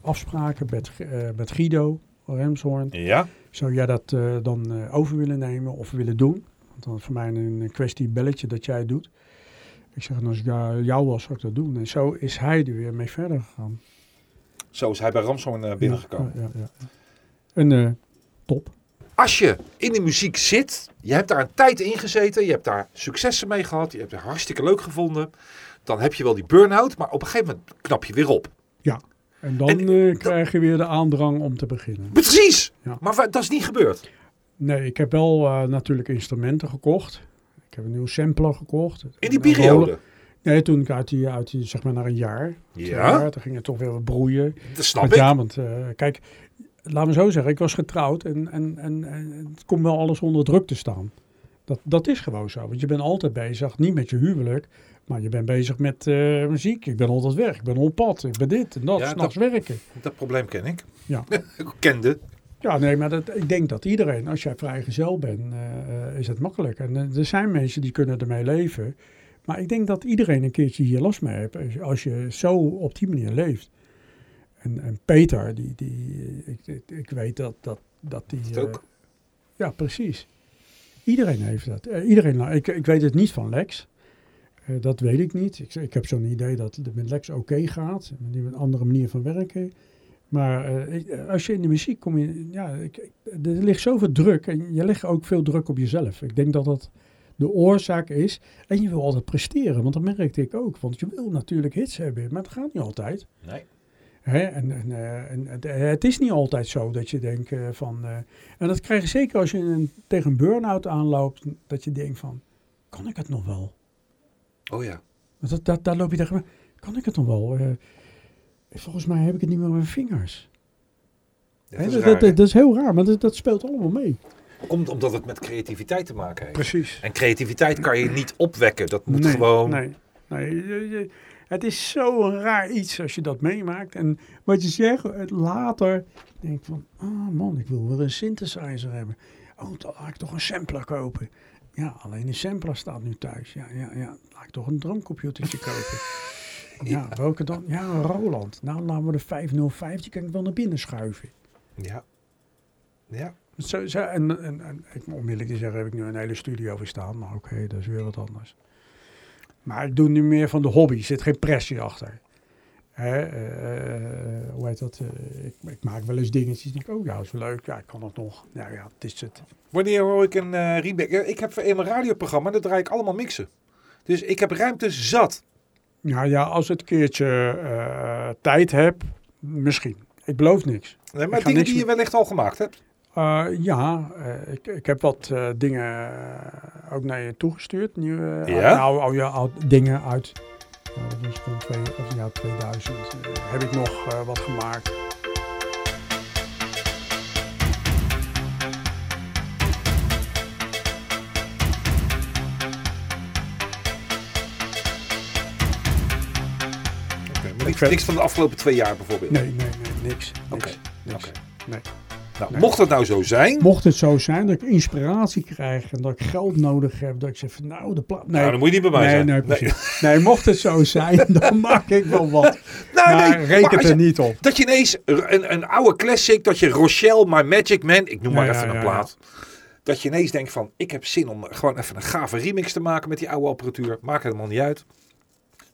Speaker 3: afspraken met, eh, met Guido Remshoorn.
Speaker 2: Ja,
Speaker 3: Zou jij dat eh, dan eh, over willen nemen of willen doen? Want dan is voor mij een kwestie belletje dat jij het doet. Ik zeg, en als ik jou jou was, zou ik dat doen. En zo is hij er weer mee verder gegaan.
Speaker 2: zo is hij bij Ramshoorn eh, binnengekomen.
Speaker 3: Ja, ja, ja. En eh, top.
Speaker 2: Als je in de muziek zit, je hebt daar een tijd in gezeten, je hebt daar successen mee gehad, je hebt het hartstikke leuk gevonden, dan heb je wel die burn-out, maar op een gegeven moment knap je weer op.
Speaker 3: En dan
Speaker 2: En-
Speaker 3: eh, krijg je weer de aandrang om te beginnen.
Speaker 2: Precies!
Speaker 3: Ja.
Speaker 2: Maar wa- dat is niet gebeurd.
Speaker 3: Nee, ik heb wel eh, natuurlijk instrumenten gekocht. Ik heb een nieuwe sampler gekocht.
Speaker 2: In die
Speaker 3: Een roller-
Speaker 2: periode.
Speaker 3: Nee, toen ik uit die, uit die zeg maar naar een jaar. twee
Speaker 2: Ja,
Speaker 3: jaar, toen ging het toch weer wat broeien.
Speaker 2: dat
Speaker 3: Want
Speaker 2: snap ik.
Speaker 3: ja, want eh, kijk, laat me zo zeggen, ik was getrouwd en, en, en, en het komt wel alles onder druk te staan. Dat, dat is gewoon zo, want je bent altijd bezig, niet met je huwelijk, maar je bent bezig met eh, muziek. Ik ben altijd weg, ik ben op pad, ik ben dit en dat,
Speaker 2: Ja,
Speaker 3: s'nachts werken.
Speaker 2: Dat probleem ken ik.
Speaker 3: Ja.
Speaker 2: ik kende.
Speaker 3: Ja, nee, maar dat, ik denk dat iedereen, als jij vrijgezel bent, eh, eh, is het makkelijk. En eh, er zijn mensen die kunnen ermee leven. Maar ik denk dat iedereen een keertje hier last mee heeft als- als je zo op die manier leeft. En, en Peter, die, die, ik, ik, ik weet dat, dat, dat die...
Speaker 2: het ook.
Speaker 3: eh, ja, precies. Iedereen heeft dat. Eh, iedereen, nou, ik, ik weet het niet van Lex. Eh, dat weet ik niet. Ik, ik heb zo'n idee dat het met Lex oké gaat. Die een andere manier van werken. Maar eh, ik- als je in de muziek kom je... Ja, ik, ik- er ligt zoveel druk. En je legt ook veel druk op jezelf. Ik denk dat dat de oorzaak is. En je wil altijd presteren. Want dat merkte ik ook. Want je wil natuurlijk hits hebben. Maar dat gaat niet altijd.
Speaker 2: Nee.
Speaker 3: Hè? En, en, eh, en het, het is niet altijd zo dat je denkt eh, van... eh, en dat krijg je zeker als je een- tegen een burn-out aanloopt. Dat je denkt van, kan ik het nog wel?
Speaker 2: Oh ja.
Speaker 3: Want dat, dat, daar loop je tegen. Kan ik het nog wel? Eh, volgens mij heb ik het niet meer op mijn vingers.
Speaker 2: Dat
Speaker 3: Hè,
Speaker 2: is
Speaker 3: Dat,
Speaker 2: raar,
Speaker 3: dat,
Speaker 2: hè?
Speaker 3: dat is heel raar, maar dat, dat speelt allemaal mee.
Speaker 2: Komt omdat het met creativiteit te maken heeft.
Speaker 8: Precies.
Speaker 2: En creativiteit kan je niet opwekken. Dat moet
Speaker 8: nee,
Speaker 2: gewoon...
Speaker 8: Nee, nee, je- je-
Speaker 3: Het is zo'n raar iets als je dat meemaakt. En wat je zegt, het later denk van, ah man, ik wil wel een synthesizer hebben. Oh, dan laat ik toch een sampler kopen. Ja, alleen een sampler staat nu thuis. Ja, ja, ja. Laat ik toch een drumcomputertje kopen. Ja, welke dan? Ja, een Roland. Nou, laten we de 505, die kan ik wel naar binnen schuiven.
Speaker 2: Ja. Ja.
Speaker 3: Zo, zo, en, en, en ik, om eerlijk te zeggen heb ik nu een hele studio voor staan. Maar oké, dat is weer wat anders. Maar ik doe nu meer van de hobby. Er zit geen pressie achter. Hè, eh, eh, hoe heet dat? Eh, ik, ik maak wel eens dingetjes. Denk, ik, oh ja, is wel leuk. Ja, ik kan dat nog. Nou ja, het is het.
Speaker 2: Wanneer hoor ik een eh remake? Ja, Ik heb in mijn radioprogramma, dat draai ik allemaal mixen. Dus ik heb ruimte zat.
Speaker 3: Nou ja, als het een keertje eh, tijd heb, misschien. Ik beloof niks.
Speaker 2: Nee,
Speaker 3: Ik
Speaker 2: maar
Speaker 3: ga
Speaker 2: dingen
Speaker 3: niks
Speaker 2: die je wellicht al gemaakt hebt.
Speaker 3: Eh, ja, eh, ik, ik heb wat eh, dingen eh, ook naar je toegestuurd. Nieuwe, eh,
Speaker 2: Ja?
Speaker 3: nou, al je oud- dingen uit nou, dat was van twee, of ja, 2000. eh, heb ik nog eh, wat gemaakt.
Speaker 2: Maar niks,
Speaker 3: vind-
Speaker 2: niks van de afgelopen twee jaar bijvoorbeeld.
Speaker 3: Nee, nee, nee, niks. niks,
Speaker 2: Oké,
Speaker 3: niks.
Speaker 2: oké.
Speaker 3: Nee.
Speaker 2: Nou,
Speaker 3: Nee.
Speaker 2: Mocht dat nou zo zijn,
Speaker 3: Mocht het zo zijn dat ik inspiratie krijg en dat ik geld nodig heb, dat ik zeg van nou, de plaat. Nee,
Speaker 2: nou, dan moet je niet bij mij
Speaker 3: nee,
Speaker 2: zijn.
Speaker 3: nee, precies. Nee, mocht het zo zijn, dan maak ik wel wat.
Speaker 2: Nou,
Speaker 3: maar
Speaker 2: nee, maar
Speaker 3: reken
Speaker 2: als
Speaker 3: er
Speaker 2: je-
Speaker 3: niet op.
Speaker 2: Dat je ineens r- een, een oude classic, dat je Rochelle, My Magic Man, ik noem maar
Speaker 3: Ja, ja,
Speaker 2: even een
Speaker 3: ja,
Speaker 2: plaat. Dat je ineens denkt van, ik heb zin om gewoon even een gave remix te maken met die oude apparatuur. Maakt helemaal niet uit.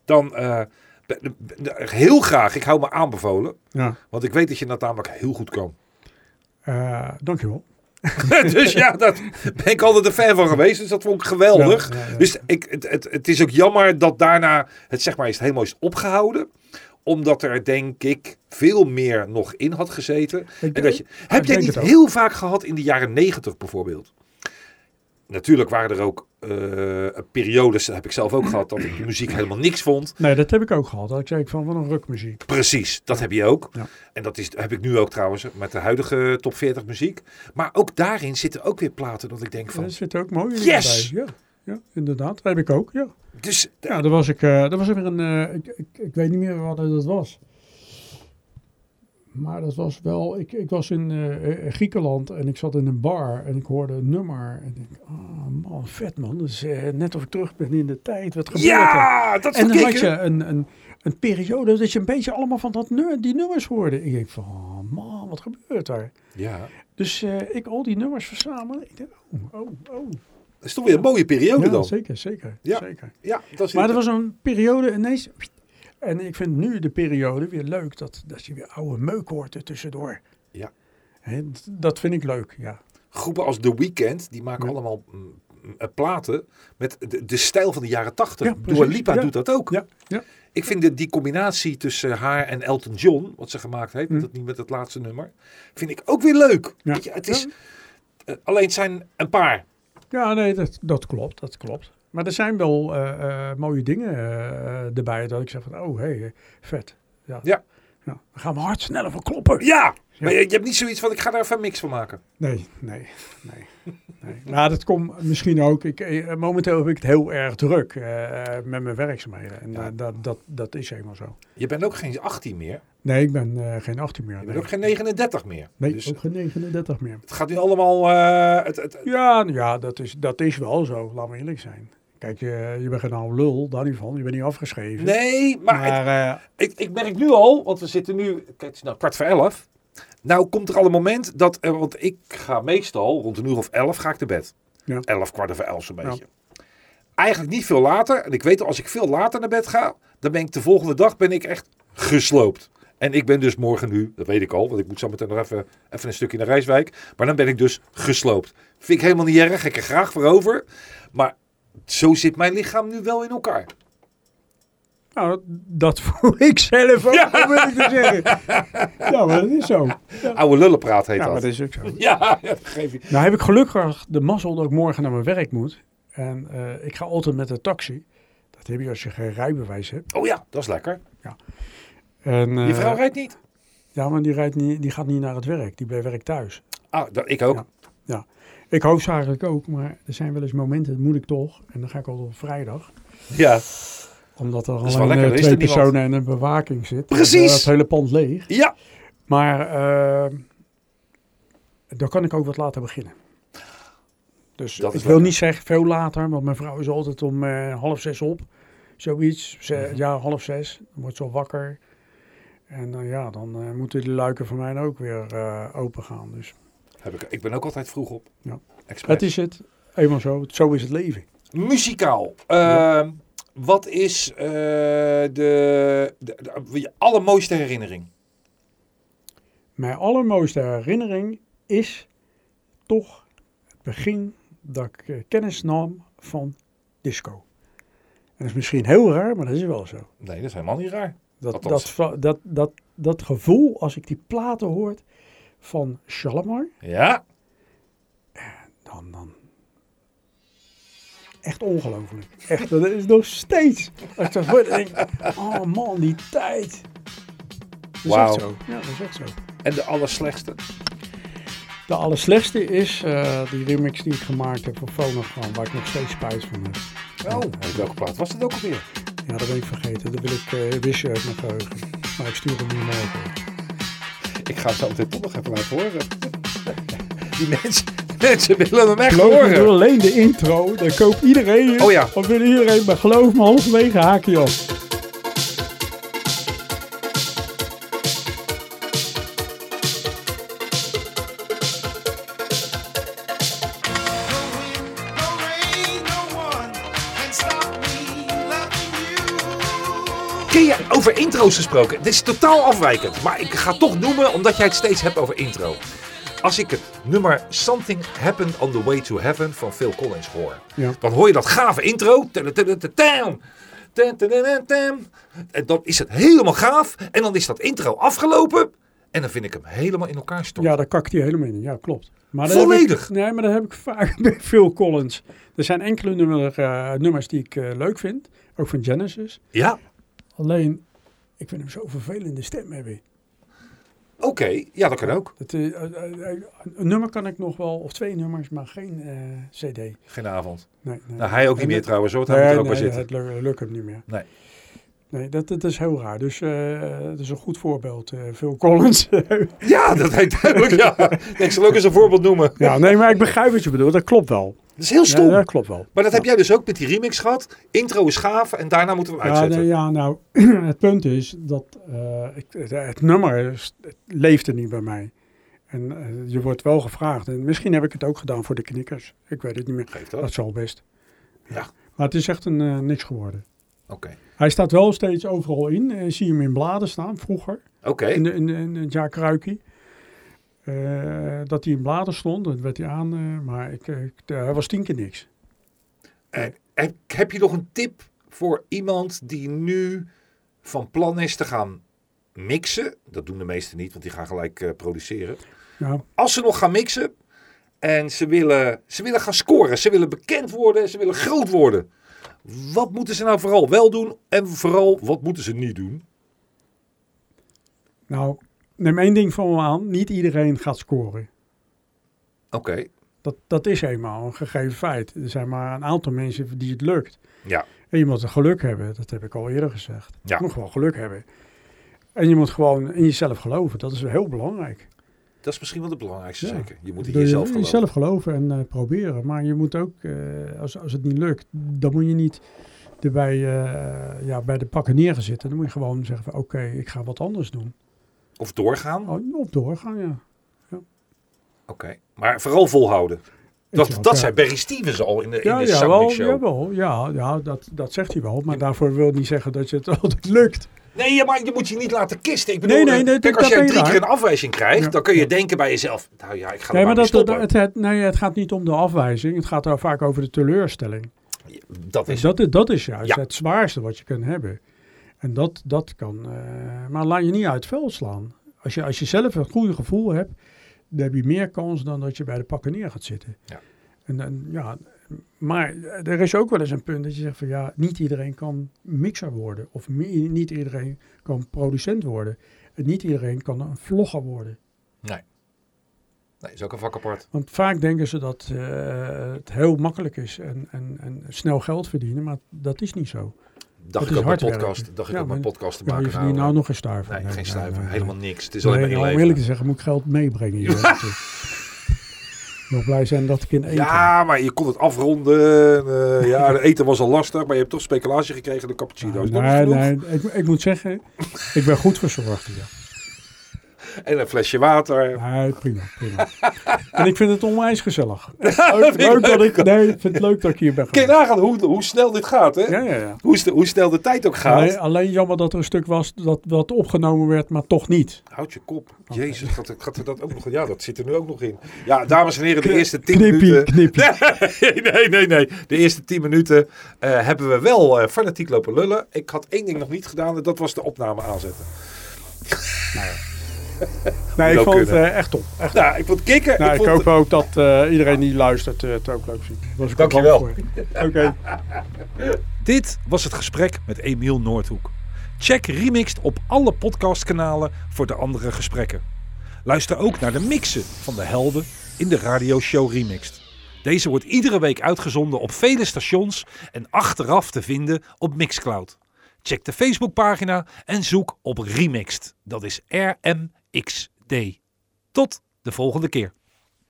Speaker 2: Dan eh, be- be- be- heel graag, ik hou me aanbevolen.
Speaker 3: Ja.
Speaker 2: Want ik weet dat je dat namelijk heel goed kan.
Speaker 3: Eh, dankjewel.
Speaker 2: dus ja, daar ben ik altijd een fan van geweest. Dus dat vond ik geweldig.
Speaker 3: Ja, ja, ja.
Speaker 2: Dus ik, het, het, het is ook jammer dat daarna het zeg maar is het helemaal is opgehouden. Omdat er denk ik veel meer nog in had gezeten.
Speaker 3: Ik-
Speaker 2: En dat je, heb jij
Speaker 3: denk
Speaker 2: niet
Speaker 3: het ook.
Speaker 2: heel vaak gehad in de jaren negentig bijvoorbeeld? Natuurlijk waren er ook eh, periodes, dat heb ik zelf ook gehad, dat ik de muziek helemaal niks vond.
Speaker 3: Nee, dat heb ik ook gehad. Dat ik zei van, wat een rukmuziek.
Speaker 2: Precies, dat heb je ook.
Speaker 3: Ja.
Speaker 2: En dat is, heb ik nu ook trouwens met de huidige top 40 muziek. Maar ook daarin zitten ook weer platen dat ik denk
Speaker 3: Er
Speaker 2: van...
Speaker 3: zit ook mooi in.
Speaker 2: Yes!
Speaker 3: Ja, ja, inderdaad. Dat heb ik ook, ja.
Speaker 2: Dus
Speaker 3: Ja, daar was ik, eh daar was ik weer een, eh, ik, ik, ik weet niet meer wat dat was. Maar dat was wel, ik, ik was in eh, eh, Griekenland en ik zat in een bar en ik hoorde een nummer. En ik denk, ah man, vet man, dat is eh, net of ik terug ben in de tijd. Wat gebeurt er?
Speaker 2: ja, dat
Speaker 3: En dan
Speaker 2: verkeek
Speaker 3: had je een, een, een periode dat je een beetje allemaal van dat, nu- die nummers hoorde. Ik denk van, oh man, wat gebeurt er?
Speaker 2: Ja,
Speaker 3: Dus eh, ik al die nummers verzamelen. Ik dacht, oh, oh, oh.
Speaker 2: dat is toch weer een mooie periode
Speaker 3: Ja,
Speaker 2: Oh, dan.
Speaker 3: zeker, zeker,
Speaker 2: Ja.
Speaker 3: zeker.
Speaker 2: Ja, dat is
Speaker 3: Maar er was een periode ineens... En ik vind nu de periode weer leuk dat, dat je weer oude meuk hoort er tussendoor.
Speaker 2: Ja.
Speaker 3: Hè, d- dat vind ik leuk, ja.
Speaker 2: groepen als The Weeknd, die maken
Speaker 3: Ja.
Speaker 2: allemaal mm, eh, platen met de, de stijl van de jaren 80.
Speaker 3: Ja, precies.
Speaker 2: Dua Lipa
Speaker 3: Ja.
Speaker 2: doet dat ook.
Speaker 3: Ja, ja.
Speaker 2: Ik vind de- die combinatie tussen haar en Elton John, wat ze gemaakt heeft, met
Speaker 3: Mm.
Speaker 2: dat, niet met het laatste nummer, vind ik ook weer leuk.
Speaker 3: Ja.
Speaker 2: Weet je, het is, eh, alleen het zijn een paar.
Speaker 3: Ja, nee, dat, dat klopt, dat klopt. Maar er zijn wel eh, eh, mooie dingen eh, erbij dat ik zeg van, oh, hé, hey, eh, vet. Ja.
Speaker 2: Ja.
Speaker 3: Ja, Dan gaan we hard sneller voor kloppen.
Speaker 2: Ja, maar je, je hebt niet zoiets van ik ga daar even een mix van maken.
Speaker 3: Nee, nee, nee. nee. Maar dat komt misschien ook. Ik, eh, momenteel heb ik het heel erg druk eh, eh, met mijn werkzaamheden. En eh, dat, dat, dat is helemaal zo.
Speaker 2: Je bent ook geen 18 meer.
Speaker 3: Nee, ik ben eh, geen 18 meer.
Speaker 2: Je
Speaker 3: nee.
Speaker 2: bent ook geen 39 meer.
Speaker 3: Nee,
Speaker 2: dus
Speaker 3: ook geen 39 meer.
Speaker 2: het gaat nu allemaal... eh, het, het,
Speaker 3: Ja, nou ja dat, is, dat is wel zo. Laten we eerlijk zijn. Kijk, je, je bent geen oude lul, daar niet van. Je bent niet afgeschreven.
Speaker 2: nee, maar het,
Speaker 3: maar eh,
Speaker 2: Ik, ik merk nu al, want we zitten nu, kijk, het is nou kwart voor elf. Nou komt er al een moment dat, eh, want ik ga meestal rond een uur of elf ga ik te bed.
Speaker 3: Ja.
Speaker 2: 11, kwart over 11 zo'n
Speaker 3: Ja.
Speaker 2: beetje. Eigenlijk niet veel later. En ik weet al, als ik veel later naar bed ga, dan ben ik de volgende dag ben ik echt gesloopt. En ik ben dus morgen nu, dat weet ik al, want ik moet zo meteen nog even, even een stukje naar Rijswijk. Maar dan ben ik dus gesloopt. Vind ik helemaal niet erg, ik er graag voor over. Maar zo zit mijn lichaam nu wel in elkaar.
Speaker 3: Nou, dat- dat voel ik zelf ook, dat wil ik te zeggen. Ja, maar dat is zo.
Speaker 2: Oude lullenpraat heet
Speaker 3: Ja, maar
Speaker 2: dat.
Speaker 3: dat is ook zo.
Speaker 2: Ja, ja, geef je.
Speaker 3: Nou heb ik gelukkig de mazzel dat ik morgen naar mijn werk moet. En eh, ik ga altijd met de taxi. Dat heb je als je geen rijbewijs hebt.
Speaker 2: Oh ja, dat is lekker.
Speaker 3: En,
Speaker 2: Je
Speaker 3: eh,
Speaker 2: vrouw rijdt niet.
Speaker 3: Ja, maar die, rijdt niet, die gaat niet naar het werk. Die blijft werk thuis.
Speaker 2: Ah, dat, ik ook.
Speaker 3: Ja. Ik hoofd eigenlijk ook, maar er zijn wel eens momenten, dat moet ik toch. En dan ga ik altijd op vrijdag.
Speaker 2: Ja.
Speaker 3: Omdat er
Speaker 2: is wel
Speaker 3: alleen
Speaker 2: lekker,
Speaker 3: eh,
Speaker 2: er is
Speaker 3: twee
Speaker 2: er niemand.
Speaker 3: personen en een bewaking zit.
Speaker 2: Precies.
Speaker 3: En, eh, Het hele pand leeg.
Speaker 2: ja.
Speaker 3: Maar eh, dan kan ik ook wat later beginnen. Dus
Speaker 2: Dat is
Speaker 3: ik wil
Speaker 2: lekker.
Speaker 3: niet zeggen veel later, want mijn vrouw is altijd om eh, half zes op. Zoiets, Ze-
Speaker 2: Mhm.
Speaker 3: ja, half zes. Dan wordt ze al wakker. En dan ja, dan eh, moeten die luiken van mij ook weer eh, open gaan. Dus
Speaker 2: Heb ik, ik ben ook altijd vroeg op.
Speaker 3: Ja.
Speaker 2: Expres.
Speaker 3: dat is het. Eenmaal zo. Zo is het leven.
Speaker 2: Muzikaal. Ehm, Wat is eh, de, de, de- je allermooiste herinnering?
Speaker 3: Mijn allermooiste herinnering is toch het begin dat ik eh, kennis nam van disco. En dat is misschien heel raar, maar dat is wel zo.
Speaker 2: Nee, dat is helemaal niet raar.
Speaker 3: Dat,
Speaker 2: Althans.
Speaker 3: dat, va- dat, dat, dat gevoel als ik die platen hoort van Shalamar,
Speaker 2: Ja,
Speaker 3: dan, dan. Echt ongelooflijk. Echt, dat is nog steeds. Als ik dat hoor, dan denk ik, oh man, die tijd. Dat is
Speaker 2: Wauw.
Speaker 3: echt zo. Ja, dat is echt zo.
Speaker 2: en de allerslechtste.
Speaker 3: De allerslechtste is eh, die remix die ik gemaakt heb voor Phonogram, waar ik nog steeds spijt van heb.
Speaker 2: Oh, en welke plaat was dat ook alweer?
Speaker 3: Ja, dat ben ik vergeten. Dat wil ik eh wissen uit mijn geheugen. Maar ik stuur hem nu morgen.
Speaker 2: Ik ga het zo meteen toch nog even laten horen. Die mensen, mensen willen hem echt
Speaker 3: Geloof me, doe
Speaker 2: horen.
Speaker 3: alleen de intro, dan koopt iedereen het.
Speaker 2: Oh ja.
Speaker 3: Dan wil iedereen, maar geloof me, halverwege haak je af.
Speaker 2: Ken je over intro's gesproken? Dit is totaal afwijkend, maar ik ga het toch noemen omdat jij het steeds hebt over intro. Als ik het nummer Something Happened on the Way to Heaven van Phil Collins hoor,
Speaker 3: Ja.
Speaker 2: dan hoor je dat gave intro. Tadadadadadam. Tadadadadam. En dan is het helemaal gaaf en dan is dat intro afgelopen en dan vind ik hem helemaal in elkaar storten.
Speaker 3: Ja, daar kakt hij helemaal in. Ja, klopt. Maar dat heb
Speaker 2: Volledig.
Speaker 3: Ik, nee, maar dat heb ik vaak bij Phil Collins. Er zijn enkele nummer, eh, nummers die ik eh, leuk vind, ook van Genesis.
Speaker 2: Ja,
Speaker 3: Alleen, ik vind hem zo vervelende stem hebben.
Speaker 2: oké. Ja, dat kan ook.
Speaker 3: Dat, eh, eh, eh, eh, een nummer kan ik nog wel, of twee nummers, maar geen eh, CD. Nee,
Speaker 2: Geen avond.
Speaker 3: nee.
Speaker 2: Nou, hij ook niet
Speaker 3: En
Speaker 2: meer
Speaker 3: dat-
Speaker 2: trouwens, hoor. want
Speaker 3: Nee,
Speaker 2: Hij
Speaker 3: nee,
Speaker 2: moet er ook bij zitten.
Speaker 3: het lu- lukt hem niet meer.
Speaker 2: Nee.
Speaker 3: Nee, dat, dat is heel raar. Dus eh, dat is een goed voorbeeld, eh, Phil Collins.
Speaker 2: Ja, dat heet duidelijk. Ja. Ik zal ook eens een voorbeeld noemen.
Speaker 3: ja, nee, maar ik begrijp wat je bedoelt. Dat klopt wel.
Speaker 2: Dat is heel stom.
Speaker 3: Ja, dat klopt wel.
Speaker 2: Maar dat heb jij dus ook met die remix gehad. Intro is gaaf en daarna moeten we hem
Speaker 3: Ja,
Speaker 2: uitzetten.
Speaker 3: nee, ja, nou, het punt is dat eh, ik, het, het nummer is- het leefde niet bij mij. En eh, je wordt wel gevraagd. En misschien heb ik het ook gedaan voor de knikkers. Ik weet het niet meer.
Speaker 2: Geeft dat.
Speaker 3: Dat zal best.
Speaker 2: Ja.
Speaker 3: Maar het is echt een, eh, niks geworden.
Speaker 2: Oké.
Speaker 3: Hij staat wel steeds overal in. Eh, zie je hem in bladen staan, vroeger.
Speaker 2: Oké.
Speaker 3: In, de- in, de- in het jaar Kruikie. Eh, dat hij in bladen stond, dat werd hij aan. eh, maar ik, ik- eh, hij was tien keer niks.
Speaker 2: En- en heb je nog een tip voor iemand die nu van plan is te gaan mixen? Dat doen de meesten niet, want die gaan gelijk eh, produceren.
Speaker 3: Ja,
Speaker 2: Als ze nog gaan mixen en ze willen, ze willen gaan scoren, ze willen bekend worden, ze willen groot worden. Wat moeten ze nou vooral wel doen en vooral wat moeten ze niet doen?
Speaker 3: nou, neem één ding van me aan. Niet iedereen gaat scoren.
Speaker 2: Oké,
Speaker 3: Dat, dat is eenmaal een gegeven feit. Er zijn maar een aantal mensen die het lukt.
Speaker 2: ja.
Speaker 3: En je moet het geluk hebben, dat heb ik al eerder gezegd.
Speaker 2: Ja.
Speaker 3: Je moet gewoon geluk hebben. En je moet gewoon in jezelf geloven. Dat is heel belangrijk.
Speaker 2: Dat is misschien wel het belangrijkste
Speaker 3: Ja.
Speaker 2: zeker. Je moet in
Speaker 3: Door je-
Speaker 2: jezelf geloven.
Speaker 3: jezelf geloven en eh, proberen. Maar je moet ook, eh, als, als het niet lukt, dan moet je niet erbij, eh, ja, bij de pakken neer gaan zitten. Dan moet je gewoon zeggen van oké, ik ga wat anders doen.
Speaker 2: Of doorgaan. Oké.
Speaker 3: Oh, Op doorgaan, ja.
Speaker 2: Maar vooral volhouden. Dat,
Speaker 3: Ja,
Speaker 2: dat
Speaker 3: ja.
Speaker 2: zei Barry Stevens al in de, in
Speaker 3: Ja,
Speaker 2: de
Speaker 3: ja, wel,
Speaker 2: Soundmix
Speaker 3: ja,
Speaker 2: Show.
Speaker 3: wel, ja, ja dat, dat zegt hij wel. Maar daarvoor wil niet zeggen dat je het altijd lukt.
Speaker 2: Nee, ja, maar je moet je niet laten kisten. Ik bedoel,
Speaker 3: Nee, nee,
Speaker 2: eh,
Speaker 3: nee,
Speaker 2: kijk, als
Speaker 3: dat- dat
Speaker 2: jij
Speaker 3: ben
Speaker 2: drie
Speaker 3: je
Speaker 2: keer
Speaker 3: daar.
Speaker 2: een afwijzing krijgt,
Speaker 3: Ja.
Speaker 2: dan kun je denken bij jezelf... Nou ja, ik ga er maar
Speaker 3: Nee, maar
Speaker 2: mee
Speaker 3: dat, dat,
Speaker 2: stoppen.
Speaker 3: het, het, nee, het gaat niet om de afwijzing. Het gaat daar vaak over de teleurstelling.
Speaker 2: dat is...
Speaker 3: Dat, is- dat is juist
Speaker 2: Ja.
Speaker 3: het zwaarste wat je kunt hebben. En dat, dat kan. eh, maar laat je niet uit het veld slaan. Als je, als je zelf een goede gevoel hebt, dan heb je meer kans dan dat je bij de pakken neer gaat zitten.
Speaker 2: Ja.
Speaker 3: En, dan ja, maar er is ook wel eens een punt dat je zegt van ja, niet iedereen kan mixer worden. Of mi- niet iedereen kan producent worden. En niet iedereen kan een vlogger worden.
Speaker 2: Nee, is ook een vak apart.
Speaker 3: Want vaak denken ze dat eh, het heel makkelijk is en, en, en snel geld verdienen, maar dat is niet zo.
Speaker 2: Dacht
Speaker 3: Oh,
Speaker 2: ik
Speaker 3: is
Speaker 2: ook mijn
Speaker 3: hard werken.
Speaker 2: podcast, dacht ik
Speaker 3: Ja,
Speaker 2: ook mijn
Speaker 3: maar-
Speaker 2: podcast te
Speaker 3: Ja, je
Speaker 2: maken.
Speaker 3: verdient nou
Speaker 2: nou,
Speaker 3: nog geen stuiver.
Speaker 2: nee, geen stuiver.
Speaker 3: nee, nee.
Speaker 2: Helemaal niks. Het is
Speaker 3: Nee,
Speaker 2: alleen maar
Speaker 3: nou,
Speaker 2: je
Speaker 3: om eerlijk
Speaker 2: leven.
Speaker 3: te zeggen moet ik geld meebrengen. hier. Ik ben blij zijn dat ik in één
Speaker 2: Ja, maar je kon het afronden. eh, ja, de eten was al lastig, maar je hebt toch speculatie gekregen en de
Speaker 3: keer-
Speaker 2: cappuccino's. Dat is
Speaker 3: nee,
Speaker 2: genoeg.
Speaker 3: nee, ik, ik moet zeggen, ik ben goed verzorgd. Ja.
Speaker 2: En een flesje water.
Speaker 3: Nee, prima, prima. En ik vind het onwijs gezellig. Leuk, leuk dat ik, nee, ik vind het leuk dat ik hier ben
Speaker 2: Kun je
Speaker 3: geweest.
Speaker 2: nagaan hoe, hoe snel dit gaat, hè?
Speaker 3: Ja, ja, ja.
Speaker 2: Hoe, sne- hoe snel de tijd ook gaat.
Speaker 3: Alleen, alleen jammer dat er een stuk was dat, dat opgenomen werd, maar toch niet.
Speaker 2: Houd je kop. Jezus, gaat, er- gaat er dat ook nog in? Ja, dat zit er nu ook nog in. Ja, dames en heren, de eerste tien
Speaker 3: Knippie,
Speaker 2: minuten...
Speaker 3: knippie.
Speaker 2: Nee, nee, nee, nee. De eerste tien minuten eh, hebben we wel eh, fanatiek lopen lullen. Ik had één ding nog niet gedaan en dat was de opname aanzetten.
Speaker 3: Nee, ik
Speaker 2: Zou
Speaker 3: vond het
Speaker 2: kunnen.
Speaker 3: eh, echt top. Echt
Speaker 2: Nou, ik vond het kicken.
Speaker 3: Nou, ik,
Speaker 2: vond
Speaker 3: hoop ook dat eh, iedereen die luistert eh, het ook leuk vindt. Was ik
Speaker 2: Dankjewel.
Speaker 3: ook bang voor. Oké.
Speaker 9: Dit was het gesprek met Emiel Noordhoek. Check Remixed op alle podcastkanalen voor de andere gesprekken. Luister ook naar de mixen van de helden in de radioshow Remixed. Deze wordt iedere week uitgezonden op vele stations en achteraf te vinden op Mixcloud. Check de Facebookpagina en zoek op Remixed. Dat is R-M-X-D. Tot de volgende keer.